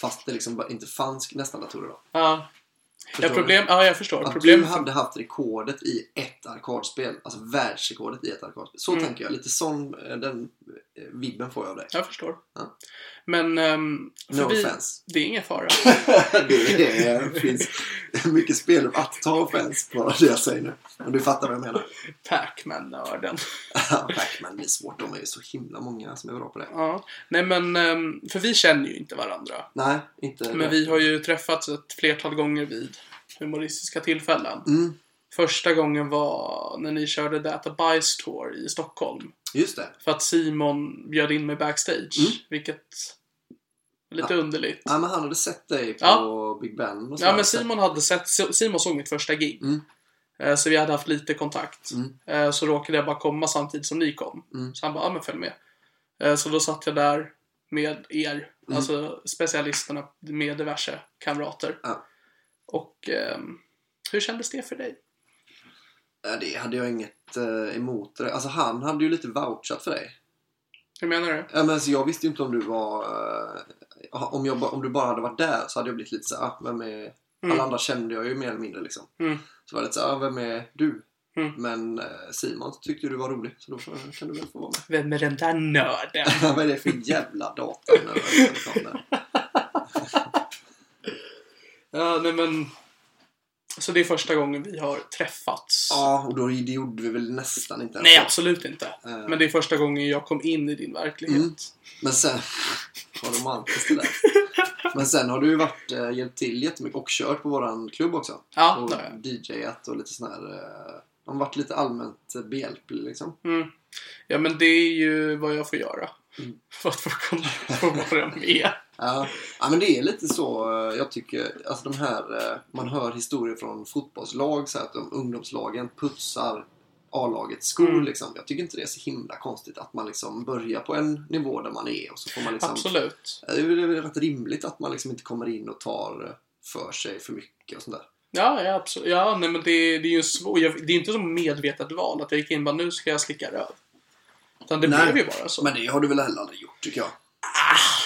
Fast det liksom bara inte fanns nästan datorer då. Ja. Förstår Ja, du? problem, ja, jag förstår. Att Problem, du hade haft rekordet i ett arkadspel, alltså världsrekordet i ett arkadspel. Så Mm. tänker jag, lite sån, eh, den eh, vibben får jag av dig. Jag förstår. Ja. Men... ehm, No förbi- offense. Det är ingen fara. det är, finns mycket spel att ta offens på det jag säger nu. Men du fattar vad jag menar. Pac-Man-nörden. Pac-Man, det är svårt, de är ju så himla många som är bra på det. Ja. Nej men, ehm, för vi känner ju inte varandra. Nej, inte Men vi har ju träffats ett flertal gånger vid humoristiska tillfällen. Mm, Första gången var när ni körde Data Bice Tour i Stockholm. just det. För att Simon bjöd in mig backstage. Mm. Vilket är lite underligt. Ja, men han hade sett dig på Ja. Big Ben och så Ja här. men Simon hade sett, Simon såg mitt första gig. Mm. Eh, Eh, Så vi hade haft lite kontakt. Mm. Eh, Så råkade jag bara komma samtidigt som ni kom. Mm. Så han bara, ja men följ med. Eh, Så då satt jag där med er, Mm. alltså specialisterna med diverse kamrater. Ja. Och ehm, hur kändes det för dig? Ja, Det hade jag inget eh, emot. det. Alltså han hade ju lite vouchat för dig. Hur menar du? Ja, men alltså, jag visste ju inte om du var... eh, om, jag, ba- om du bara hade varit där så hade jag blivit lite så här, ah, vem är... Alla andra kände jag ju mer eller mindre liksom. Mm. Så var det lite så här, ah, vem är du? Mm. Men eh, Simon tyckte ju du var rolig, så då får- kan du väl få vara med. Vem är den där nörden? Vad är det för jävla dator? när jag ska kolla? ja, nej men. Så det är första gången vi har träffats. Ja, och då det gjorde vi väl nästan inte ens Nej, det. absolut inte. Eh. Men det är första gången jag kom in i din verklighet. Mm. Men sen... Vad romantiskt det där. Men sen har du ju varit, eh, hjälpt till jättemycket och kört på våran klubb också. Ja, det har jag. och DJat och lite sån här... Eh, de har varit lite allmänt eh, behjälplig liksom. Mm. Ja, men det är ju vad jag får göra. Mm. För att få komma få vara med. Ja, ja, men det är lite så. eh, Jag tycker, alltså de här, eh, man hör historier från fotbollslag så här, att de ungdomslagen putsar A-lagets skor Mm. liksom. Jag tycker inte det är så himla konstigt att man liksom börjar på en nivå där man är och så får man liksom... Absolut. Det är väl det är rätt rimligt att man liksom inte kommer in och tar eh, för sig för mycket och sånt där. Ja, ja, absolut. Ja, nej, men det, det är ju en svår... Jag, det är inte så medvetet val att jag gick in och bara nu ska jag slicka röv. Utan det Nej. blev ju bara så. Men det har du väl heller aldrig gjort tycker jag?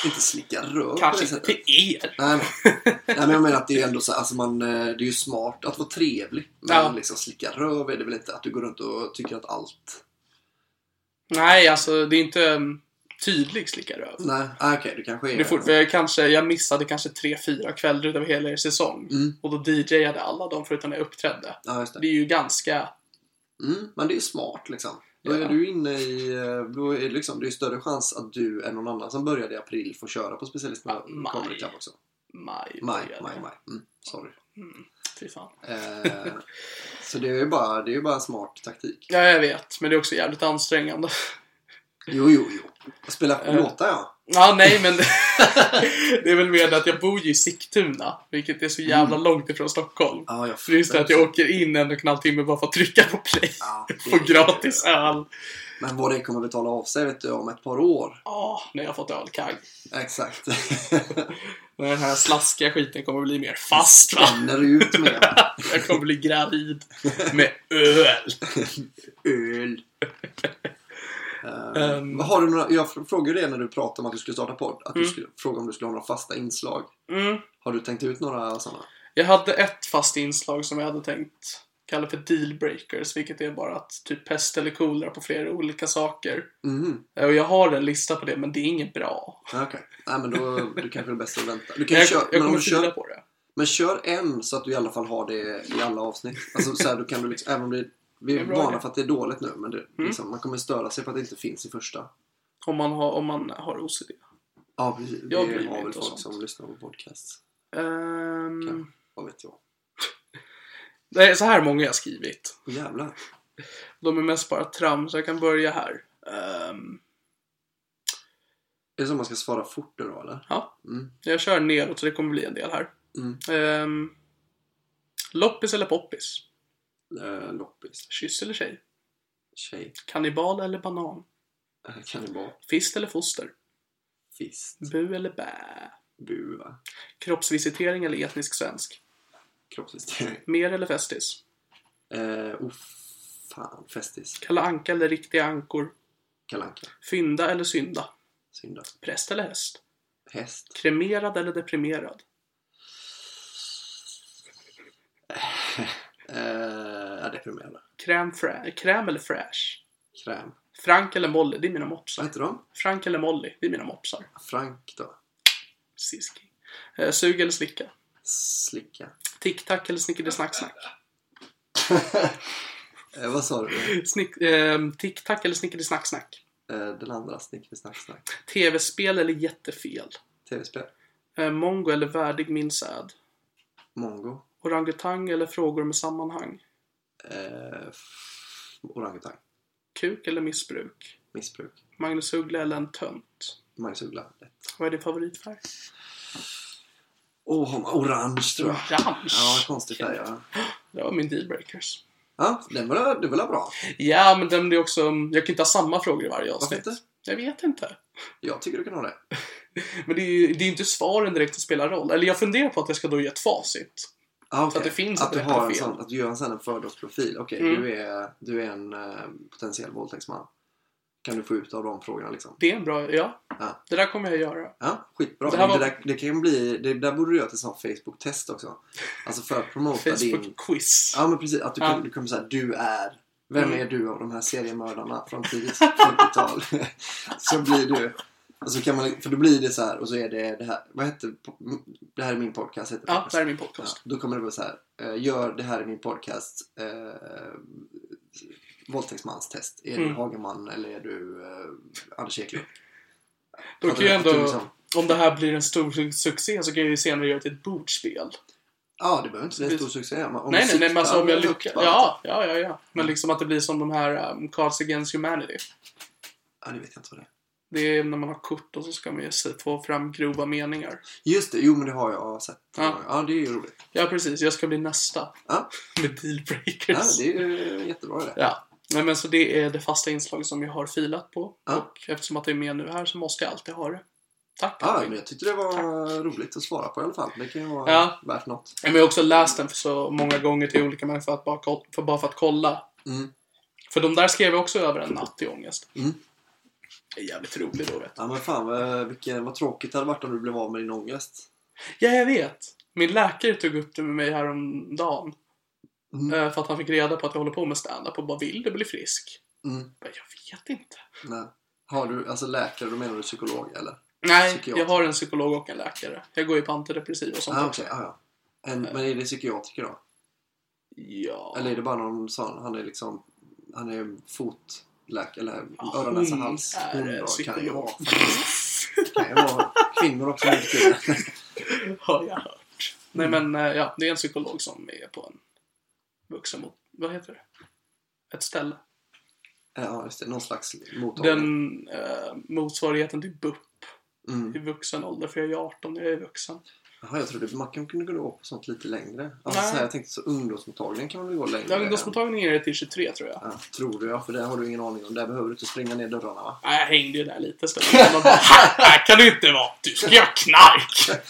Inte slicka röv på Ah! Kanske inte det sättet. till er. Nej, nej. nej, men jag menar att det är ändå så alltså man, eh, det är ju smart att vara trevlig. Men Ja. liksom slicka röv är det väl inte att du går runt och tycker att allt... Nej, alltså det är inte um, tydlig slicka röv. Nej, ah, okej, det kanske är... Det är fort, för jag, kanske, jag missade kanske tre, fyra kvällar utav hela er säsong. Mm. Och då DJade alla dem förutom när jag uppträdde. Ja, just det. Det är ju ganska... Mm, men det är ju smart liksom. Då är Ja. du inne i... eh, Då är det, liksom, det är ju större chans att du än någon annan som började i april får köra på specialisterna Ja, Ah, maj. Comedy Club också. Maj. Maj, började. maj, maj. Mm, sorry. Fy fan. Eh, så det är ju bara, det är ju bara en smart taktik. Ja, jag vet. Men det är också jävligt ansträngande. Jo, jo, jo. Spela Eh. låtar ja. Ja, nej, men det är väl mer det att jag bor ju i Sigtuna, vilket är så Mm. jävla långt ifrån Stockholm. Ja, jag Så det är just det att jag fattar. åker in en och en halv timme bara för att trycka på play. Ja, det På är- gratis öl. Men vad det kommer betala av sig vet du om ett par år. Ja, när jag har fått ölkagg. Exakt. När den här slaskiga skiten kommer bli mer fast va? Spänner ut med Jag kommer bli gravid med öl. öl. Eh, Ehm. vad har du några, jag fr- frågade ju det när du pratade om att du skulle starta podd. Att du skulle fråga om du skulle ha några fasta inslag. Mm. Har du tänkt ut några sådana? Jag hade ett fast inslag som jag hade tänkt kalla för dealbreakers, vilket är bara att typ pest eller kolera på flera olika saker. Mhm, Och jag har en lista på det, men det är inget bra. okej. Nej men då du kanske det är bäst att vänta. Du kan Jag, ju jag köra, men om kommer du kör fila på det. Men kör en så att du i alla fall har det i alla avsnitt. Alltså så här, då kan du liksom, även om det, vi är är bra Mm. idé. vana för att det är dåligt nu, men det, liksom, man kommer störa sig för att det inte finns i första. Om man har, om man har OCD. Ja, precis. Det Jag bryr mig har väl inte folk och sånt. som lyssnar på podcasts. Ehm, Kan- Vad vet jag? Det är så här många jag har skrivit. Åh, jävlar. De är mest bara trams, så jag kan börja här. Ehm, Är det så man ska svara fort nu då, eller? ja, Mm. jag kör neråt så det kommer bli en del här. Mm. Ehm, loppis eller poppis? Eh, loppis. Kyss eller tjej? Tjej. Kannibal eller banan? Eh, Kannibal. Fist eller foster? Fist. Bu eller bä? Bu, va? Kroppsvisitering eller etnisk svensk? Kroppsvisitering. Mer eller festis? Eh, oh, fan. Festis. Kalla anka eller riktiga ankor? Kalle Anka. Fynda eller synda? Synda. Präst eller häst? Häst. Kremerad eller deprimerad? Eh, ja, deprimerande. Kräm, frä- kräm eller fräsch? Kräm. Frank eller Molly, det är mina mopsar. Vad heter de? Frank eller Molly, det är mina mopsar. Frank, då? Siski. Eh, sug eller slicka? Slicka. Tic-tac eller snickedesnacksnack? Eh, vad sa du? Snick, eh, Tic-tac eller snickedesnacksnack? Eh, den andra snickesnacksnack. TV-spel eller jättefel? Tv-spel. Eh, mongo eller värdig min säd? Mongo. Orangutang eller frågor med sammanhang? Eh, f- Orangutang. Kuk eller missbruk? Missbruk. Magnus Uggla eller en tönt? Magnus Uggla. Lätt. Vad är din favoritfärg? Åh, oh, orange tror jag. Orange! Mm. Ja, konstig färg. Ja. Det var min dealbreakers. Ja, den var, det var väl bra? Ja, men den blir också... Jag kan inte ha samma frågor i varje Varför avsnitt. inte? Jag vet inte. Jag tycker du kan ha det. Men det är ju det är ju inte svaren direkt som spelar roll. Eller jag funderar på att jag ska då ge ett facit. Ah, okej. att det finns att ett du rätt har och en fel. sån, Att du gör en sån en fördomsprofil. Okej, Mm. du, är, du är en eh, potentiell våldtäktsman. Kan du få ut av de frågorna liksom? Det är en bra... Ja. Ja. Det där kommer jag göra. Ja, skitbra. Det Det, här det, var- där, det kan bli... Det där borde du göra till sån Facebook-test också. Alltså för att promota din... Facebook-quiz. Ja, men precis. Att du, Ja. kan, du kommer säga du är... Vem Mm. är du av de här seriemördarna från tidigt 50-tal? så blir du... Och så kan man, för då blir det så här och så är det det här. Vad hette... Det här är min podcast. Heter Ja, det podcasten. här är min Ja, podcast. då kommer det vara så här. eh, Gör det här i min podcast. Eh, våldtäktsmanstest. Är Mm. du Hagaman eller är du eh, Anders Eklund? Då Att kan ju du- att du ändå... liksom- Om det här blir en stor su- succé så kan jag ju senare göra det till ett bordspel. Ja, det behöver inte bli en stor succé. men Om nej, du nej, nej, men alltså siktar om jag högt lyckas. på allt. Ja, ja, ja, ja. Men Mm. liksom att det blir som de här um, Cards Against Humanity. Ja, det vet jag inte vad det är. Det är när man har kort och så ska man ju se- få fram grova meningar. Just det, jo men det har jag sett. Ja. Ja, det är ju roligt. Ja, precis. Jag ska bli nästa. Ja. Med dealbreakers. Ja, det är ju jättebra det. Ja. Nej, men så det är det fasta inslag som jag har filat på. Ja. Och eftersom att det är med nu här så måste jag alltid ha det. Tack. Ja, Edvin. men jag tyckte det var roligt att svara på i alla fall. Det kan ju vara Ja. värt något. Men jag har också läst den för så många gånger till olika människor för att bara, ko- för, bara för att kolla. Mm. För de där skrev jag också över en natt i ångest. Mm. Det är jävligt roligt då vet du. Ja, men fan vad, vilken, vad tråkigt det hade varit om du blev av med din ångest. Ja, jag vet. Min läkare tog upp det med mig häromdagen. Mm. Eh, För att han fick reda på att jag håller på med stand-up och bara vill du bli frisk? Mm. Jag, bara, jag vet inte. Nej. Har du, alltså läkare, då menar du psykolog eller? Nej, Psykiater. jag har en psykolog och en läkare. Jag går ju på antidepressiva och sånt Ah, också. okej, ah, ja. en, men är det psykiatriker då? Ja. Eller är det bara någon sån? Han är liksom, han är fotläkare, eller Ja, öron, näsa, hon hals. är då, kan psykolog. ju vara. kan ju vara kvinnor också nu för tiden. har jag hört. Nej men eh, ja, det är en psykolog som är på en vuxenmot... Vad heter det? Ett ställe. Ja, just det. Någon slags mottagning. Den eh, motsvarigheten till BUP Mm. i vuxen ålder, för jag är 18 när jag är vuxen. Jaha, jag trodde man kan kunde gå på sånt lite längre. Alltså, Nej. så här, jag tänkte så ungdomsmottagningen kan man väl gå längre? Ja, än- ungdomsmottagningen är det till 23 tror jag. Ja, tror du ja, för det har du ingen aning om. Där behöver du inte spränga ner dörrarna va? Nej, jag hängde ju där lite så Man bara, här kan du inte vara! Du ska göra knark!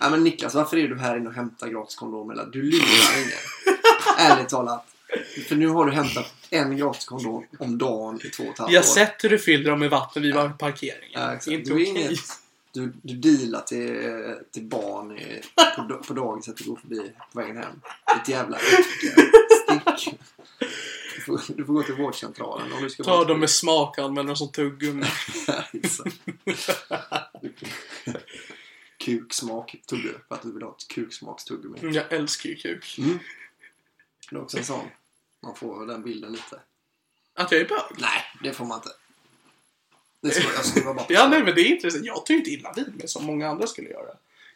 Nej men Niklas, varför är du här inne och hämtar gratis kondomer? Eller, Du lurar ingen. Ärligt talat. För nu har du hämtat en gratis kondom om dagen i två och ett halvt Jag har år. sett hur du fyller dem med vatten vid parkeringen. Ja, det är exakt. inte Du, är okej. inget, du, du dealar till, till barn i, på, da- på dagiset du går förbi på vägen hem. Ditt jävla äckel. Stick. Du får, du får gå till vårdcentralen om du ska Ta dem med smak och använd dem som Mm. tuggummi. Exakt. Kuksmak tog du upp. Att du vill ha ett kuksmakstuggummi. Mm, Jag älskar ju kuk. Det är också en sån. Man får den bilden lite. Att jag är bög? Nej, det får man inte. Det ska jag skriva bort. Ja, nej men det är intressant. Jag tycker inte illa vid mig som många andra skulle göra.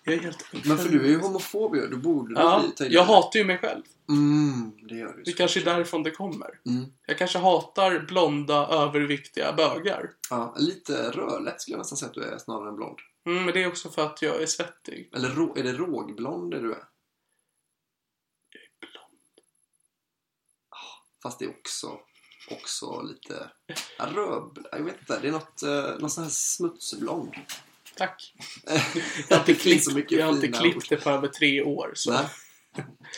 Jag är helt... Men för du är ju homofob ju. Du borde Ja, bli tydlig. jag hatar ju mig själv. Mm, det gör du. Det ju. kanske är därifrån det kommer. Mm. Jag kanske hatar blonda, överviktiga bögar. Ja, lite rödlätt skulle jag nästan säga att du är snarare än blond. Mm, men det är också för att jag är svettig. Eller rå, är det rågblond det du är? Jag är blond. Fast det är också, också lite ja, röd... Jag vet inte. Det är något, eh, någon sån här smutsblond. Tack. Jag har Det inte finns så klippt, mycket jag har inte fina ord. klippt det på över tre år. Så. Nej.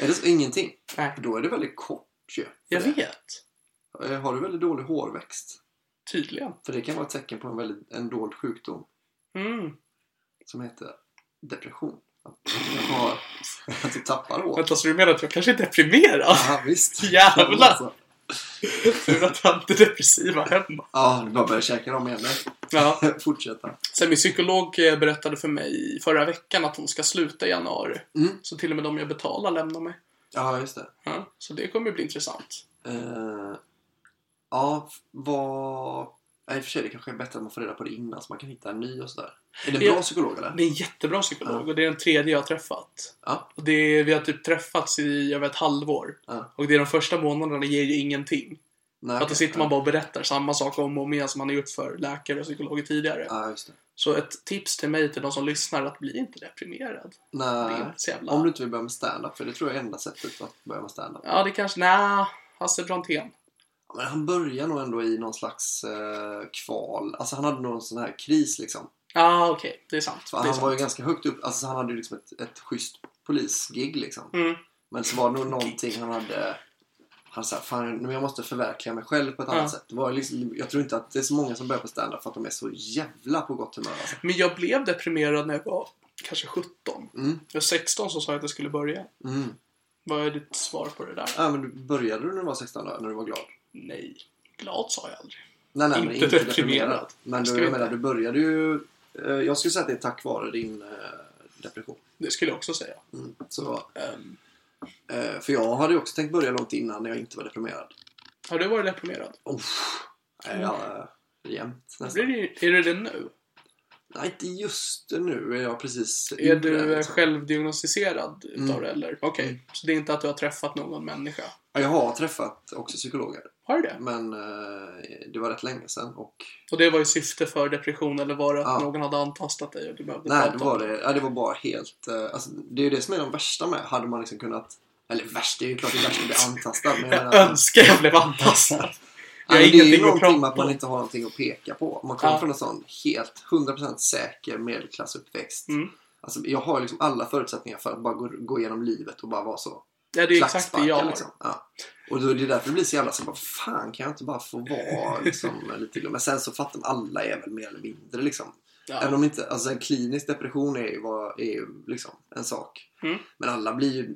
Är det så, ingenting? Nej. Då är det väldigt kort ju. för Jag det. vet. Eh, Har du väldigt dålig hårväxt? Tydligen. För det kan vara ett tecken på en, väldigt, en dold sjukdom Mm. som heter depression. Att du, har, att du tappar hår. Vänta, så du menar att jag kanske är deprimerad? Ja, visst. Jävlar! Alltså. Tur att jag inte är depressiva hemma. Ja, du bara börjar käka dem igen. nej. Ja. Fortsätta. Sen min psykolog eh, berättade för mig förra veckan att hon ska sluta i januari. Mm. Så till och med de jag betalar lämnar mig. Ja, just det. Ja, så det kommer ju bli intressant. Eh, ja, vad... Nej, i och för sig, det kanske är bättre att man får reda på det innan så man kan hitta en ny och sådär. Är det en Ja. bra psykolog eller? Det är en jättebra psykolog Ja. och det är den tredje jag har träffat. Ja. Och det är, vi har typ träffats i över ett halvår. Ja. Och det är de första månaderna ger ju ingenting. Nej, För att då okej. sitter man bara och berättar samma sak om och om igen som man har gjort för läkare och psykologer tidigare. Ja, just det. Så Så ett tips till mig, till de som lyssnar, att bli inte deprimerad. Det är Nej. inte så jävla... Om du inte vill börja med stand-up, för det tror jag är enda sättet att börja med stand-up. Ja, det kanske... Nej, Hasse Brontén. Ja, Men han börjar nog ändå i någon slags eh, kval. Alltså han hade någon sån här kris liksom. Ja, okej. Det är sant. För det är han sant. var ju ganska högt upp. Alltså han hade ju liksom ett, ett schysst polisgig liksom. Mm. Men så var det nog någonting han hade... Han sa fan men jag måste förverkliga mig själv på ett annat Ja. sätt. Det var ju liksom, jag tror inte att det är så många som börjar på stand-up för att de är så jävla på gott humör. Alltså. Men jag blev deprimerad när jag var kanske 17. Mm, Jag var 16 så sa jag att jag skulle börja. mm. Vad är ditt svar på det där? Ja, men du- började du när du var 16 då, när du var glad? Nej. Glad sa jag aldrig. Nej, nej, men Inte inte deprimerad. deprimerad. Men Ska du, vi jag menar, inte? du började ju... eh, Jag skulle säga att det är tack vare din eh, depression. Det skulle jag också säga. Mm. Så, Ehm, eh, för jag hade ju också tänkt börja långt innan när jag inte var deprimerad. har du varit deprimerad? Uff. Nej, jag, eh, jämt nästan. Blir Mm. det, är du det nu? Nej, inte just nu. Är jag precis Är ur det, du eh, liksom. självdiagnostiserad utav Mm. det eller? Okej, Mm. så det är inte att du har träffat någon människa? Ja, Jag har träffat också psykologer. Har du det? Men eh, det var rätt länge sedan. Och, Och det var ju syfte för depression eller var det att Ja. någon hade antastat dig och du behövde nej, prata det om var det. Ja, det var bara helt... eh, Alltså, det är ju det som är de värsta med. Hade man liksom kunnat... Eller värst, det är ju klart det är värst att bli antastad. Men jag Jag menar, önskar jag blev antastad. Ja, Jag har men det är ju ingenting att prata någonting med att man om. inte har någonting att peka på. Man kommer Ja. från en sån helt 100% säker medelklassuppväxt. Mm. Alltså, jag har liksom alla förutsättningar för att bara gå, gå igenom livet och bara vara så. Ja, det är exakt det jag har. Klacksparkad, liksom. ja. Och då är det därför det blir så jävla så bara, fan kan jag inte bara få vara liksom, lite glum? Men sen så fattar man, alla är väl mer eller mindre liksom. Även Ja. om inte, alltså en klinisk depression är ju, vad, är ju liksom en sak. Mm. Men alla blir ju,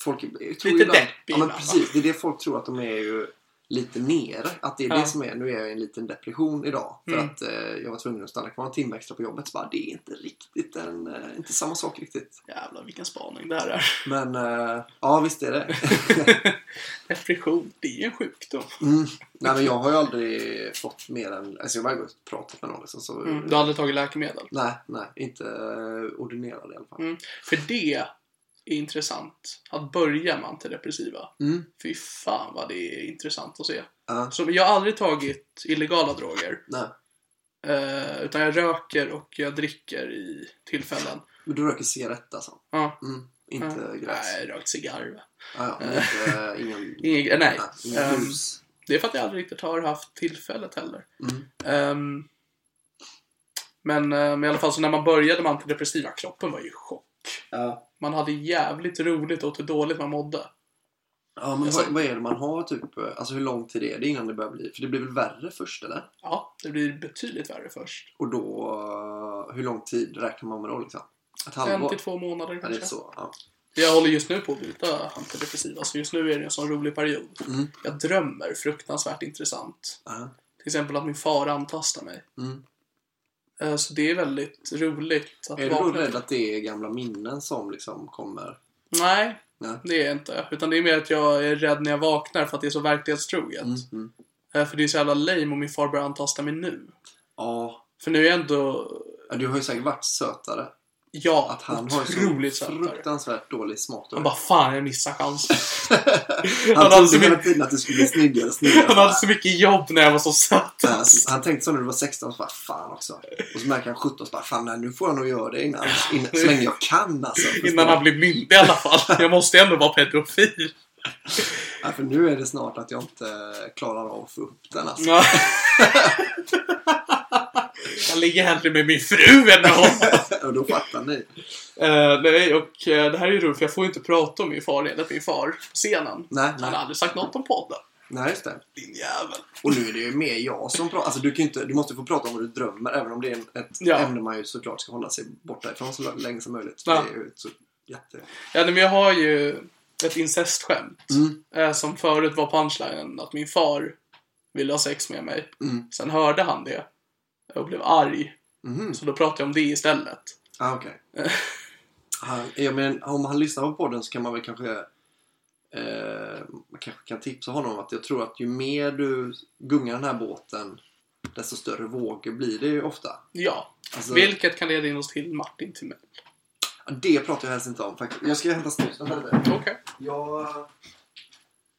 folk tror Lite deppiga, Ja men va? precis, det är det folk tror att de är ju lite nere. Att det är Ja. det som är, nu är jag i en liten depression idag. För Mm. att eh, jag var tvungen att stanna kvar en timme extra på jobbet. Så bara, det är inte riktigt en, eh, inte samma sak riktigt. Jävlar vilken spaning det här är. Men eh, ja visst är det. Depression, det är ju en sjukdom. Mm. Nej men jag har ju aldrig fått mer än, alltså jag har bara gått och pratat med någon liksom. Så, Du har aldrig tagit läkemedel? Nej, nej, inte eh, ordinerad i alla fall. Mm. För det är intressant. Att börja med antidepressiva. Mm. Fy fan vad det är intressant att se. Ja. Så jag har aldrig tagit illegala droger. Nej. Eh, utan jag röker och jag dricker i tillfällen. Men du röker cigarett alltså? Ja. Mm. Inte Ja. gräs? Nej, jag har rökt cigarr. va? Ah, ja, men inte, ingen, Inget, nej. inga Ehm, hus. det är för att jag aldrig riktigt har haft tillfället heller. Mm. Ehm, men, eh, men i alla fall så när man började med antidepressiva, kroppen var ju i chock. Ja. Man hade jävligt roligt åt hur dåligt man mådde. ja, men Alltså- vad, vad är det man har typ? Alltså hur lång tid är det innan det börjar bli? För det blir väl värre först eller? Ja, det blir betydligt värre först. Och då, eh, hur lång tid räknar man med då liksom? Ett En till halvår? två månader Ja, det är kanske. så. Ja. Jag håller just nu på att byta antidepressiva, så just nu är det en sån rolig period. Mm. Jag drömmer fruktansvärt intressant. Ja. Till exempel att min far antastar mig. Mm. Eh, Så det är väldigt roligt att Är du då vakna- rädd att det är gamla minnen som liksom kommer? Nej, Nej. det är jag inte. Utan det är mer att jag är rädd när jag vaknar för att det är så verklighetstroget. Mm. Mm. Eh, För det är så jävla lame om min far börjar antasta mig nu. Ja. För nu är jag ändå... Ja, Du har ju säkert varit sötare. Ja, Att han har ju otroligt så sötare. fruktansvärt dålig smak. Han bara, fan jag missar chansen. Han hade så trodde hela mycket- tiden att du skulle bli snyggare och snyggare. Han hade så mycket jobb när jag var så söt. Ja, alltså, han tänkte så när du var 16, så bara fan också. Och så märker han 17, så bara fan nej, nu får jag nog göra det innan, innan så länge jag kan alltså. Förstår Innan han du? blev myndig i alla fall. Jag måste ändå vara pedofil. ja, för nu är det snart att jag inte klarar av att få upp den alltså. Ja. Jag ligger hellre med min fru än med honom. och då fattar ni. Eh, nej, och eh, det här är ju roligt för jag får ju inte prata om min far enligt min far på scenen. Nej, Han har nej, aldrig sagt något om podden. nej just det. Din jävel. Och nu är det ju mer jag som pratar. Alltså du kan ju inte, du måste ju få prata om vad du drömmer även om det är en- ett Ja. ämne man ju såklart ska hålla sig borta ifrån så länge som möjligt. Ja. Det är ju så jätte... Ja, nej, men jag har ju ett incestskämt. Mm. Eh, som förut var punchlinen att min far ville ha sex med mig. Mm. Sen hörde han det och blev arg. Mhm. Så då pratade jag om det istället. Ah, okej. Han- ja, men om han lyssnar på podden så kan man väl kanske... Eh, man kanske kan tipsa honom om att jag tror att ju mer du gungar den här båten desto större vågor blir det ju ofta. Ja. Alltså- Vilket kan leda in oss till Martin till mig. Mm. Ja, Det pratar jag helst inte om faktiskt. Jag ska hämta snusen här lite. Okej. Jag...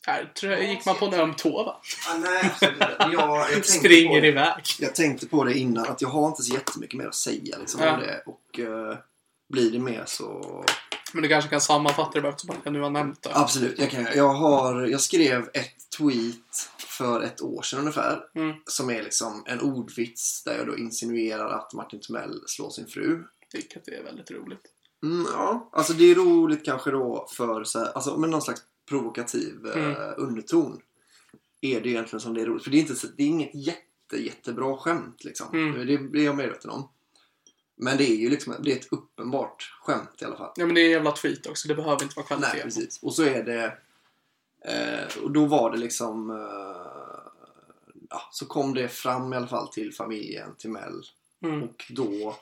Här tror jag, gick man på en öm tå va? Ah, nej, absolut inte. jag, jag Springer på, iväg. Jag tänkte på det innan, att jag har inte så jättemycket mer att säga liksom, Ja. om det. Och eh, blir det mer så... Men du kanske kan sammanfatta det bara eftersom jag nu har nämnt det. Absolut, jag kan jag. Har, jag skrev ett tweet för ett år sedan ungefär. Mm. Som är liksom en ordvits där jag då insinuerar att Martin Timell slår sin fru. Vilket är väldigt roligt. Mm, ja, alltså det är roligt kanske då för så här, alltså med någon slags provokativ eh, Mm. underton. Är det egentligen som det är roligt. För det är, inte, så- det är inget jätte, jättebra skämt liksom. Mm. Det, det är jag medveten om. Men det är ju liksom, det är ett uppenbart skämt i alla fall. Ja men det är en jävla tweet också, det behöver inte vara kvalitet. Nej, precis. Och så är det... Eh, och då var det liksom... Eh, ja, så kom det fram i alla fall till familjen, till Mel. Mm. Och då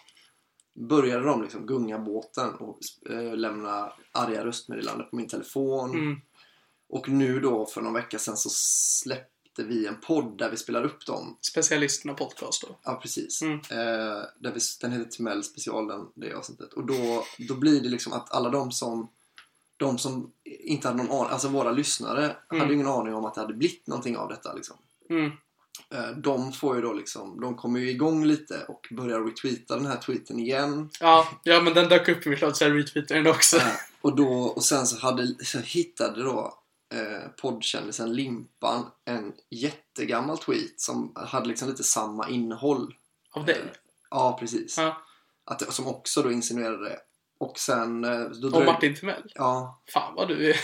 började de liksom gunga båten och eh, lämna arga röstmeddelanden på min telefon. Mm. Och nu då för någon vecka sedan så släppte vi en podd där vi spelar upp dem. Specialisterna podcast då. Ja, precis. Mm. Eh, där vi, den heter Timell special, den, det avsnittet. Och då, då blir det liksom att alla de som de som inte hade någon aning, alltså våra lyssnare hade ingen aning om att det hade blivit någonting av detta liksom. Mm. Eh, De får ju då liksom, de kommer ju igång lite och börjar retweeta den här tweeten igen. Ja, ja men den dök upp i mitt flöde så jag retweetade den också. Eh, Och, då, och sen så, hade, så hittade då eh, poddkändisen Limpan en jättegammal tweet som hade liksom lite samma innehåll. Av dig. Ja, precis. Ja. Att, det- som också då insinuerade det. Och sen... eh, Då Och dröjde- Martin Timell. Ja, Fan vad du är.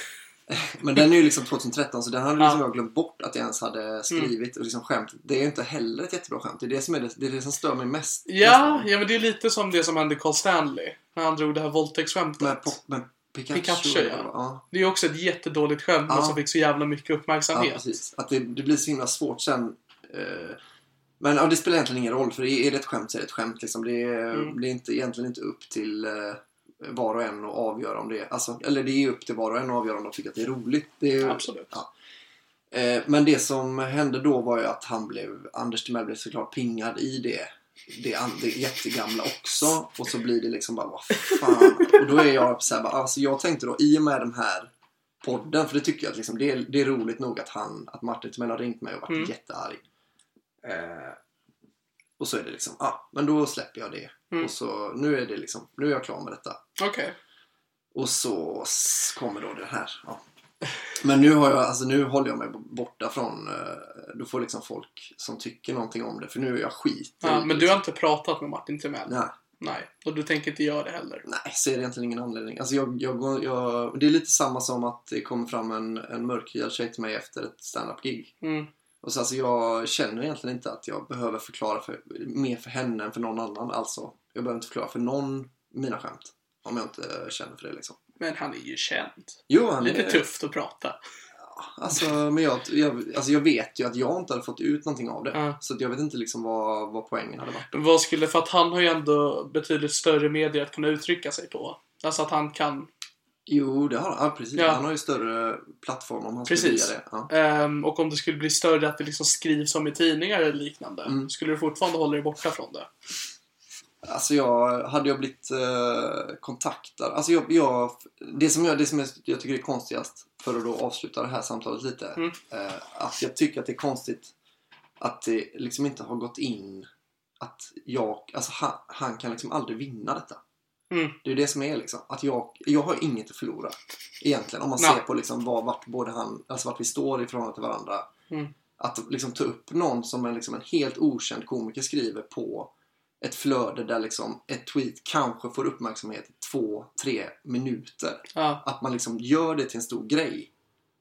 men den är ju liksom 2013 så den hade liksom Ja. Mm. jag glömt bort att jag ens hade skrivit och liksom skämt. Det är ju inte heller ett jättebra skämt. Det är det som, är det, det, är det som stör mig mest. Ja, nästan. ja men det är lite som det som hände Carl Stanley. När han drog det här Med, våldtäktsskämtet. pop- med Pikachu. Pikachu, ja. ja. Det är ju också ett jättedåligt skämt men Ja. som fick så jävla mycket Ja, uppmärksamhet. precis. Att det, det blir så himla svårt sen. eh, men ja, det spelar egentligen ingen roll, för är är det ett skämt så är det ett skämt. Liksom. Det, är, Mm. det är inte, egentligen inte upp till eh, var och en att avgöra om det alltså, Eller det är upp till var och en att avgöra om de tycker att det är roligt. Det är, Absolut. Ja. Eh, men det som hände då var ju att han blev, Anders Timell blev såklart pingad i det. Det, an- det jättegamla också. Och så blir det liksom bara, vad fan. Och då är jag så här, bara, alltså jag tänkte då i och med den här podden, för det tycker jag att liksom, det, är, det är roligt nog att, han, att Martin Timell har ringt mig och varit Mm. jättearg. Eh, och så är det liksom, ah, men då släpper jag det. Mm. Och så, nu är det liksom, nu är jag klar med detta. Okej. Och så s- kommer då det här. Ja. Men nu, har jag, alltså nu håller jag mig b- borta från... eh, Då får liksom folk som tycker någonting om det. För nu är jag skit. liksom Ja, men du har inte pratat med Martin Timell? Nej, Nej. Och du tänker inte göra det heller? nej, så är det egentligen ingen anledning. Alltså jag, jag, går- jag, det är lite samma som att det kommer fram en, en mörkhyad tjej till mig efter ett standup-gig. Mm. Och så alltså jag känner egentligen inte att jag behöver förklara för, mer för henne än för någon annan. Alltså, jag behöver inte förklara för någon mina skämt. Om jag inte eh, känner för det liksom. Men han är ju känd. Jo, han Lite är- tufft att prata. Alltså, men jag, jag, alltså jag vet ju att jag inte hade fått ut någonting av det. Ja. Så att jag vet inte liksom vad, vad poängen hade varit. Men Vad skulle, för att han har ju ändå betydligt större medier att kunna uttrycka sig på. Alltså att han kan Jo, det har han. Ja, precis. Ja. Han har ju större plattform om han Precis. skulle vilja det. Ja. Ehm, och om det skulle bli större att det liksom skrivs om i tidningar eller liknande. Mm. Skulle du fortfarande hålla dig borta från det? Alltså jag, hade jag blivit eh, kontaktad. Alltså jag, jag, det som, jag, det som jag, jag tycker är konstigast, för att då avsluta det här samtalet lite. Mm. Eh, att jag tycker att det är konstigt att det liksom inte har gått in att jag, alltså han, han kan liksom aldrig vinna detta. Mm. Det är det som är liksom. Att jag, jag har inget att förlora. Egentligen. Om man Nej. ser på liksom var, vart, både han, alltså vart vi står i förhållande till varandra. Mm. Att liksom ta upp någon som en, liksom en helt okänd komiker skriver på ett flöde där liksom ett tweet kanske får uppmärksamhet i två, tre minuter. Ja. Att man liksom gör det till en stor grej.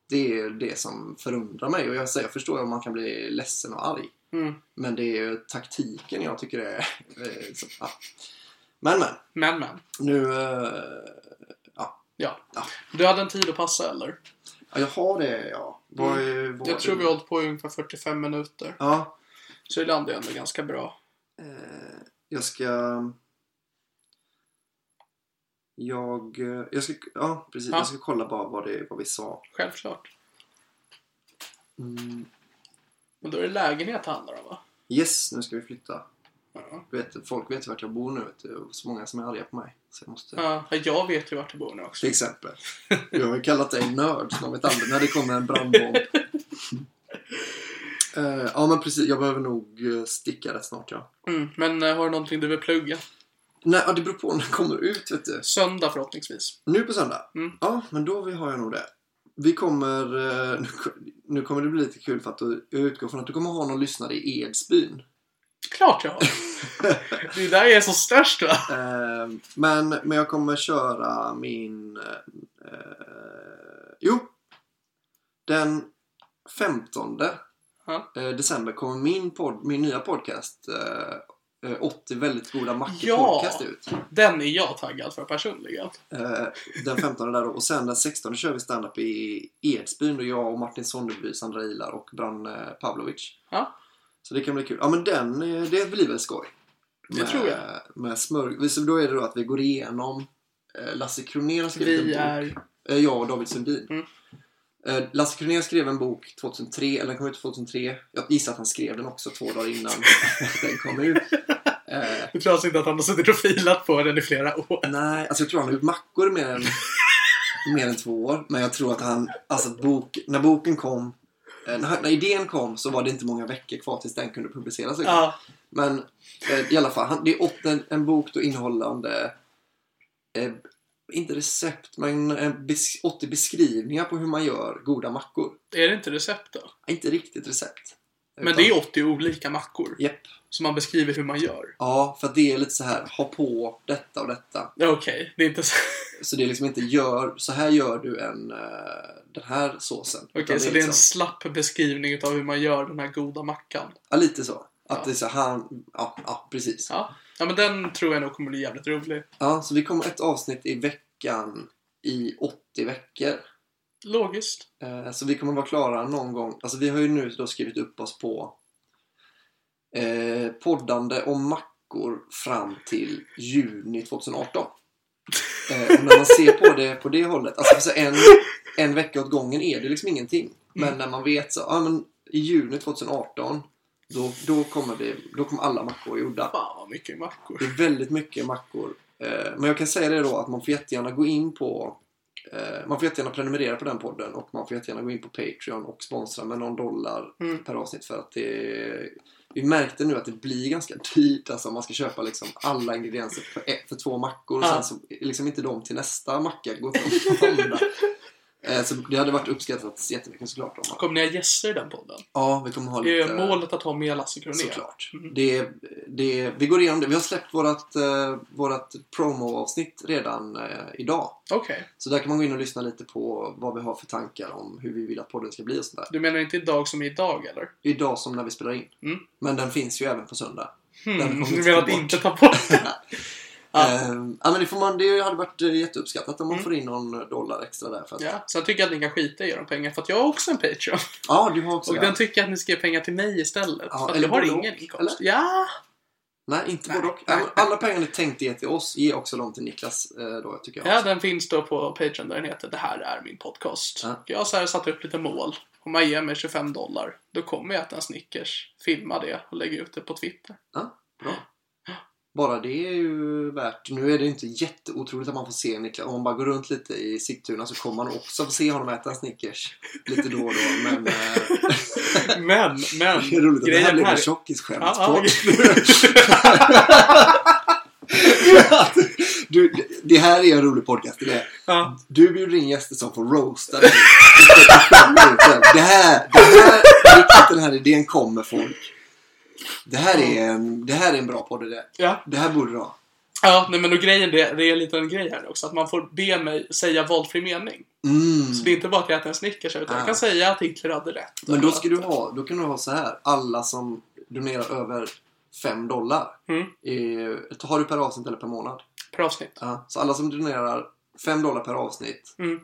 Det är det som förundrar mig. Och jag, säger, jag förstår om man kan bli ledsen och arg. Mm. Men det är ju taktiken jag tycker är... eh, liksom, ja. Men men. Men men. Nu... eh, ja. Ja. Ja. Du hade en tid att passa eller? ja, jag har det ja. Vad är, vad Mm. Jag tror är- vi har hållit på i ungefär 45 minuter. Ja. Så det landade ändå ganska bra. Eh, jag ska... Jag, eh, jag ska... Ja, precis. Ja. Jag ska kolla bara vad, det, vad vi sa. Självklart. Mm. Men då är det lägenhet det handlar om va? Yes, nu ska vi flytta. Ja. Du Vet, folk vet ju vart jag bor nu. Vet du, och så många som är arga på mig. Så jag måste... Ja, jag vet ju vart det bor nu också. Till exempel. Jag har ju kallat dig nörd som ett annat när det kommer en brandbomb. Eh, ja men precis, jag behöver nog eh, sticka rätt snart ja. Mm, men eh, har du någonting du vill plugga? Nej, ja, det beror på när det kommer ut vet du. Söndag förhoppningsvis. Nu på söndag? Mm. Ja, men då vi- har jag nog det. Vi kommer... eh, Nu, nu kommer det bli lite kul för att du- jag utgår från att du kommer ha någon lyssnare i Edsbyn. Klart jag har! det är där jag är som störst va? Eh, men, men jag kommer köra min... Eh, jo! Den 15 Ja. eh, december kommer min, podd, min nya podcast eh, eh, 80 väldigt goda mackor Ja. podcast ut. Den är jag taggad för personligen. Eh, den 15 där då. Och sen den 16 kör vi standup i Edsbyn då jag och Martin Sonderby, Sandra Ilar och Bran eh, Pavlovic. Ja. Så det kan bli kul. Ja men den, eh, det blir väl skoj. Det tror jag. Med smörg... Så då är det då att vi går igenom eh, Lasse Kronér har skrivit Vi en bok. är... Eh, Jag och David Sundin. Mm. Eh, Lasse Kronér skrev en bok 2003, eller den kom ut 2003. Jag gissar att han skrev den också två dagar innan den kom ut. Eh, Det tror alltså inte att han har suttit och filat på den i flera år. Nej, alltså jag tror han har gjort mackor mer än, mer än två år. Men jag tror att han, alltså att bok, när boken kom, eh, när, när idén kom så var det inte många veckor kvar tills den kunde publiceras. Ja, Men eh, i alla fall, han, det är åt en, en bok då innehållande, eh, inte recept, men eh, bes, 80 beskrivningar på hur man gör goda mackor. är det inte recept då? Inte riktigt recept. Men det är 80 olika mackor. Japp. Som man beskriver hur man gör. Ja, för att det är lite så här, ha på detta och detta. Okej, det är inte så... Så det är liksom inte gör, så här gör du en, eh, den här såsen. Okej, Utan så det är en liksom- slapp beskrivning utav hur man gör den här goda mackan. Ja, lite så. Att Ja. det är så här, ja, ja precis. Ja. Ja. ja, men den tror jag nog kommer bli jävligt rolig. så det kommer ett avsnitt i veckan i 80 veckor. Logiskt. Eh, så vi kommer vara klara någon gång. Alltså vi har ju nu då skrivit upp oss på eh, poddande om mackor fram till juni 2018. Eh, och när man ser på det på det hållet, alltså för så en, en vecka åt gången är det liksom ingenting. Men när man vet så, ja men i juni 2018 då, då, kommer, det, då kommer alla mackor gjorda. Fan vad mycket mackor. Det är väldigt mycket mackor. Eh, Men jag kan säga det då att man får jättegärna gå in på eh, man får jättegärna prenumerera på den podden och man får jättegärna gå in på Patreon och sponsra med någon dollar Mm. per avsnitt för att det Vi märkte nu att det blir ganska dyrt alltså om man ska köpa liksom alla ingredienser för, ett- för två mackor och Ja. sen så är liksom inte de till nästa macka går att använda. Eh, Så det hade varit uppskattat jättemycket såklart. Om man... Kommer ni ha gäster i den podden? Ja, vi kommer ha Är lite... målet att ha med Lasse Kronér? Såklart. Mm. Det, det, vi går igenom det. Vi har släppt vårat, eh, vårat promo-avsnitt redan eh, idag. Okej. Så där kan man gå in och lyssna lite på vad vi har för tankar om hur vi vill att podden ska bli och sådär. Du menar inte idag som idag eller? Idag som när vi spelar in. Mm. Men den finns ju även på söndag. Den Hmm. kommer Du inte menar att ta bort. inte ta bort den? Ja. Ehm, ja, men det, får man, det hade varit eh, jätteuppskattat om man får in någon dollar extra där. För att, Mm. Ja, sen tycker jag att ni kan skita i era pengar för att jag har också en Patreon. ja, du har också Och det. den tycker jag att ni ska ge pengar till mig istället. Ja, för att eller jag har både ingen och, inkomst. Ja! Nej, inte Nej, både och. nej, Ja, men Alla pengar ni tänkte ge till oss, ge också dem till Niklas eh, då tycker jag. ja, den finns då på Patreon där den heter Det här är min podcast. Ja. Jag har så här satt upp lite mål. Om man ger mig 25 dollar, då kommer jag äta en Snickers, filma det och lägga ut det på Twitter. Ja, bra. Bara det är ju värt. Nu är det inte jätteotroligt att man får se Niklas. Om man bara går runt lite i Sigtuna så kommer man också få se honom äta Snickers. Lite då och då. Men eh, Men, men, det är roligt att det här grejen blev en här... tjockisskämt. Ja, ja, du, det här är en rolig podcast. Det är. Ja. Du bjuder in gäster som får roasta dig. Det här, det här, riktigt den här idén kommer folk. Det här är en, det här är en bra podd det där. Ja. Det här borde du ha. ja, nej men och grejen, det, det är en liten grej här också. Att man får be mig säga valfri mening. Mm. Så det är inte bara att jag äter en Snickers, utan Ah. jag kan säga att Hitler hade rätt. Men då ska du ha, då kan du ha så här. Alla som donerar över 5 dollar. Mm. Eh, har du per avsnitt eller per månad? Per avsnitt. Ja. Så alla som donerar 5 dollar per avsnitt Mm.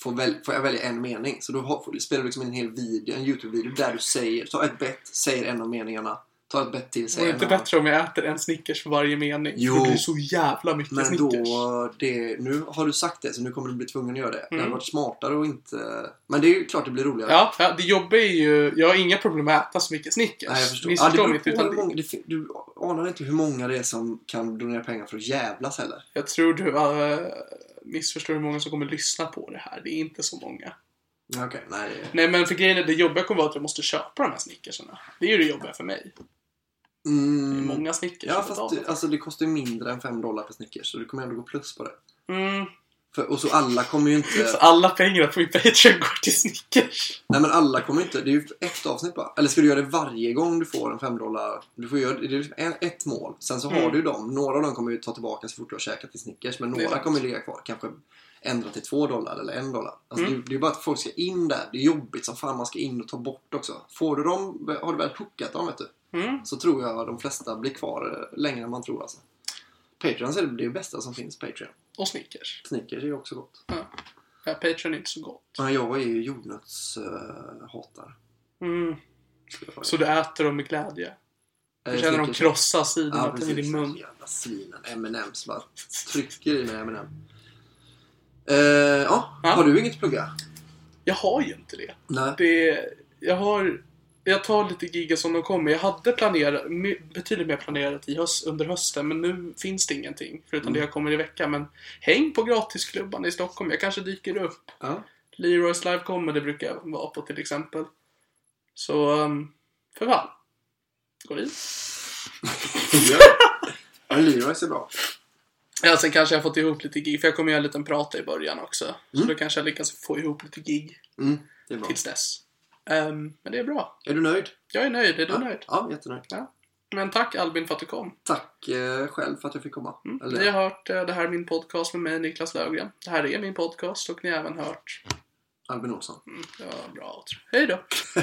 får, väl, får jag välja en mening. Så då har, får- spelar du liksom en hel video, en YouTube-video där du säger, ta ett bett, säger en av meningarna. Ta ett bett till, Vore säger det en inte annan. bättre om jag äter en Snickers för varje mening? Jo. För Det blir så jävla mycket Men Snickers. då, det, nu har du sagt det så nu kommer du bli tvungen att göra det. Det hade Mm. varit smartare och inte... Men det är ju klart det blir roligare. Ja, ja, det jobbiga är ju... Jag har inga problem med att äta så mycket Snickers. Nej, jag förstår. Ja, det Missförstå beror mig inte. på hur Utan det, många- det fin- du, anar inte hur många det är som kan donera pengar för att jävlas heller. Jag tror du äh, missförstår hur många som kommer lyssna på det här. Det är inte så många. Okej, nej. det är- Nej men för grejen är det jobbiga kommer vara att jag måste köpa de här snickersarna. Det är ju det jobbiga för mig. Det är Mm. många snickers. Ja, att fast betala. det, alltså, det kostar ju mindre än 5 dollar per Snickers, så du kommer ändå gå plus på det. Mm. typ För, och så alla kommer ju Så inte... alla pengar på min Patreon går till snickers. Nej men alla kommer ju inte... Det är ju ett avsnitt bara. Eller ska du göra det varje gång du får en 5 dollar? Du får göra det är liksom en- ett mål. Sen så har Mm. du ju dem. Några av dem kommer ju ta tillbaka så fort du har käkat till Snickers. Men Det är några sant. kommer ju ligga kvar. Kanske ändra till 2 dollar eller 1 dollar. Mm. Alltså, det, är- det är ju bara att folk ska in där. Det är jobbigt som fan man ska in och ta bort också. Får du dem, har du väl hookat dem vet du. Mm. så tror jag de flesta blir kvar eh, längre än man tror alltså. Patreon så är det det bästa som finns, Patreon. Och snickers. Snickers är ju också gott. Ja. Ja, Patreon är inte så gott. Ja, jag är ju jordnötshatare. Mm. Så du äter dem med glädje. Eh, Du känner dem krossar krossa sidorna till din mun. Jävla svinen. M&M's bara trycker i mig M&M. Eh, ja, Ja. har du inget att plugga? Jag har ju inte det. Nej. det jag har... Jag tar lite giga som de kommer. Jag hade planerat, my- betydligt mer planerat i höst, under hösten, men nu finns det ingenting. Förutom det jag kommer i veckan. Men häng på gratisklubban i Stockholm. Jag kanske dyker upp. Ja. Leroys Live Comedy brukar jag vara på till exempel. Så, um, för fan. Gå dit. Gör det. Men Leroys är bra. Ja, sen kanske jag fått ihop lite gig, för jag kommer göra en liten prata i början också. Så då kanske jag lyckas få ihop lite gig Mm, det är bra. tills dess. Ehm, men det är bra. Är du nöjd? Jag är nöjd, är du nöjd? Ja, jättenöjd. Ja. Men tack Albin för att du kom. Tack eh, själv för att jag fick komma. Eller- Ni har hört eh, Det här är min podcast med mig, Niklas Löfgren. Det här är min podcast och ni har även hört... Albin Olsson. Ja, bra outro. Hej då!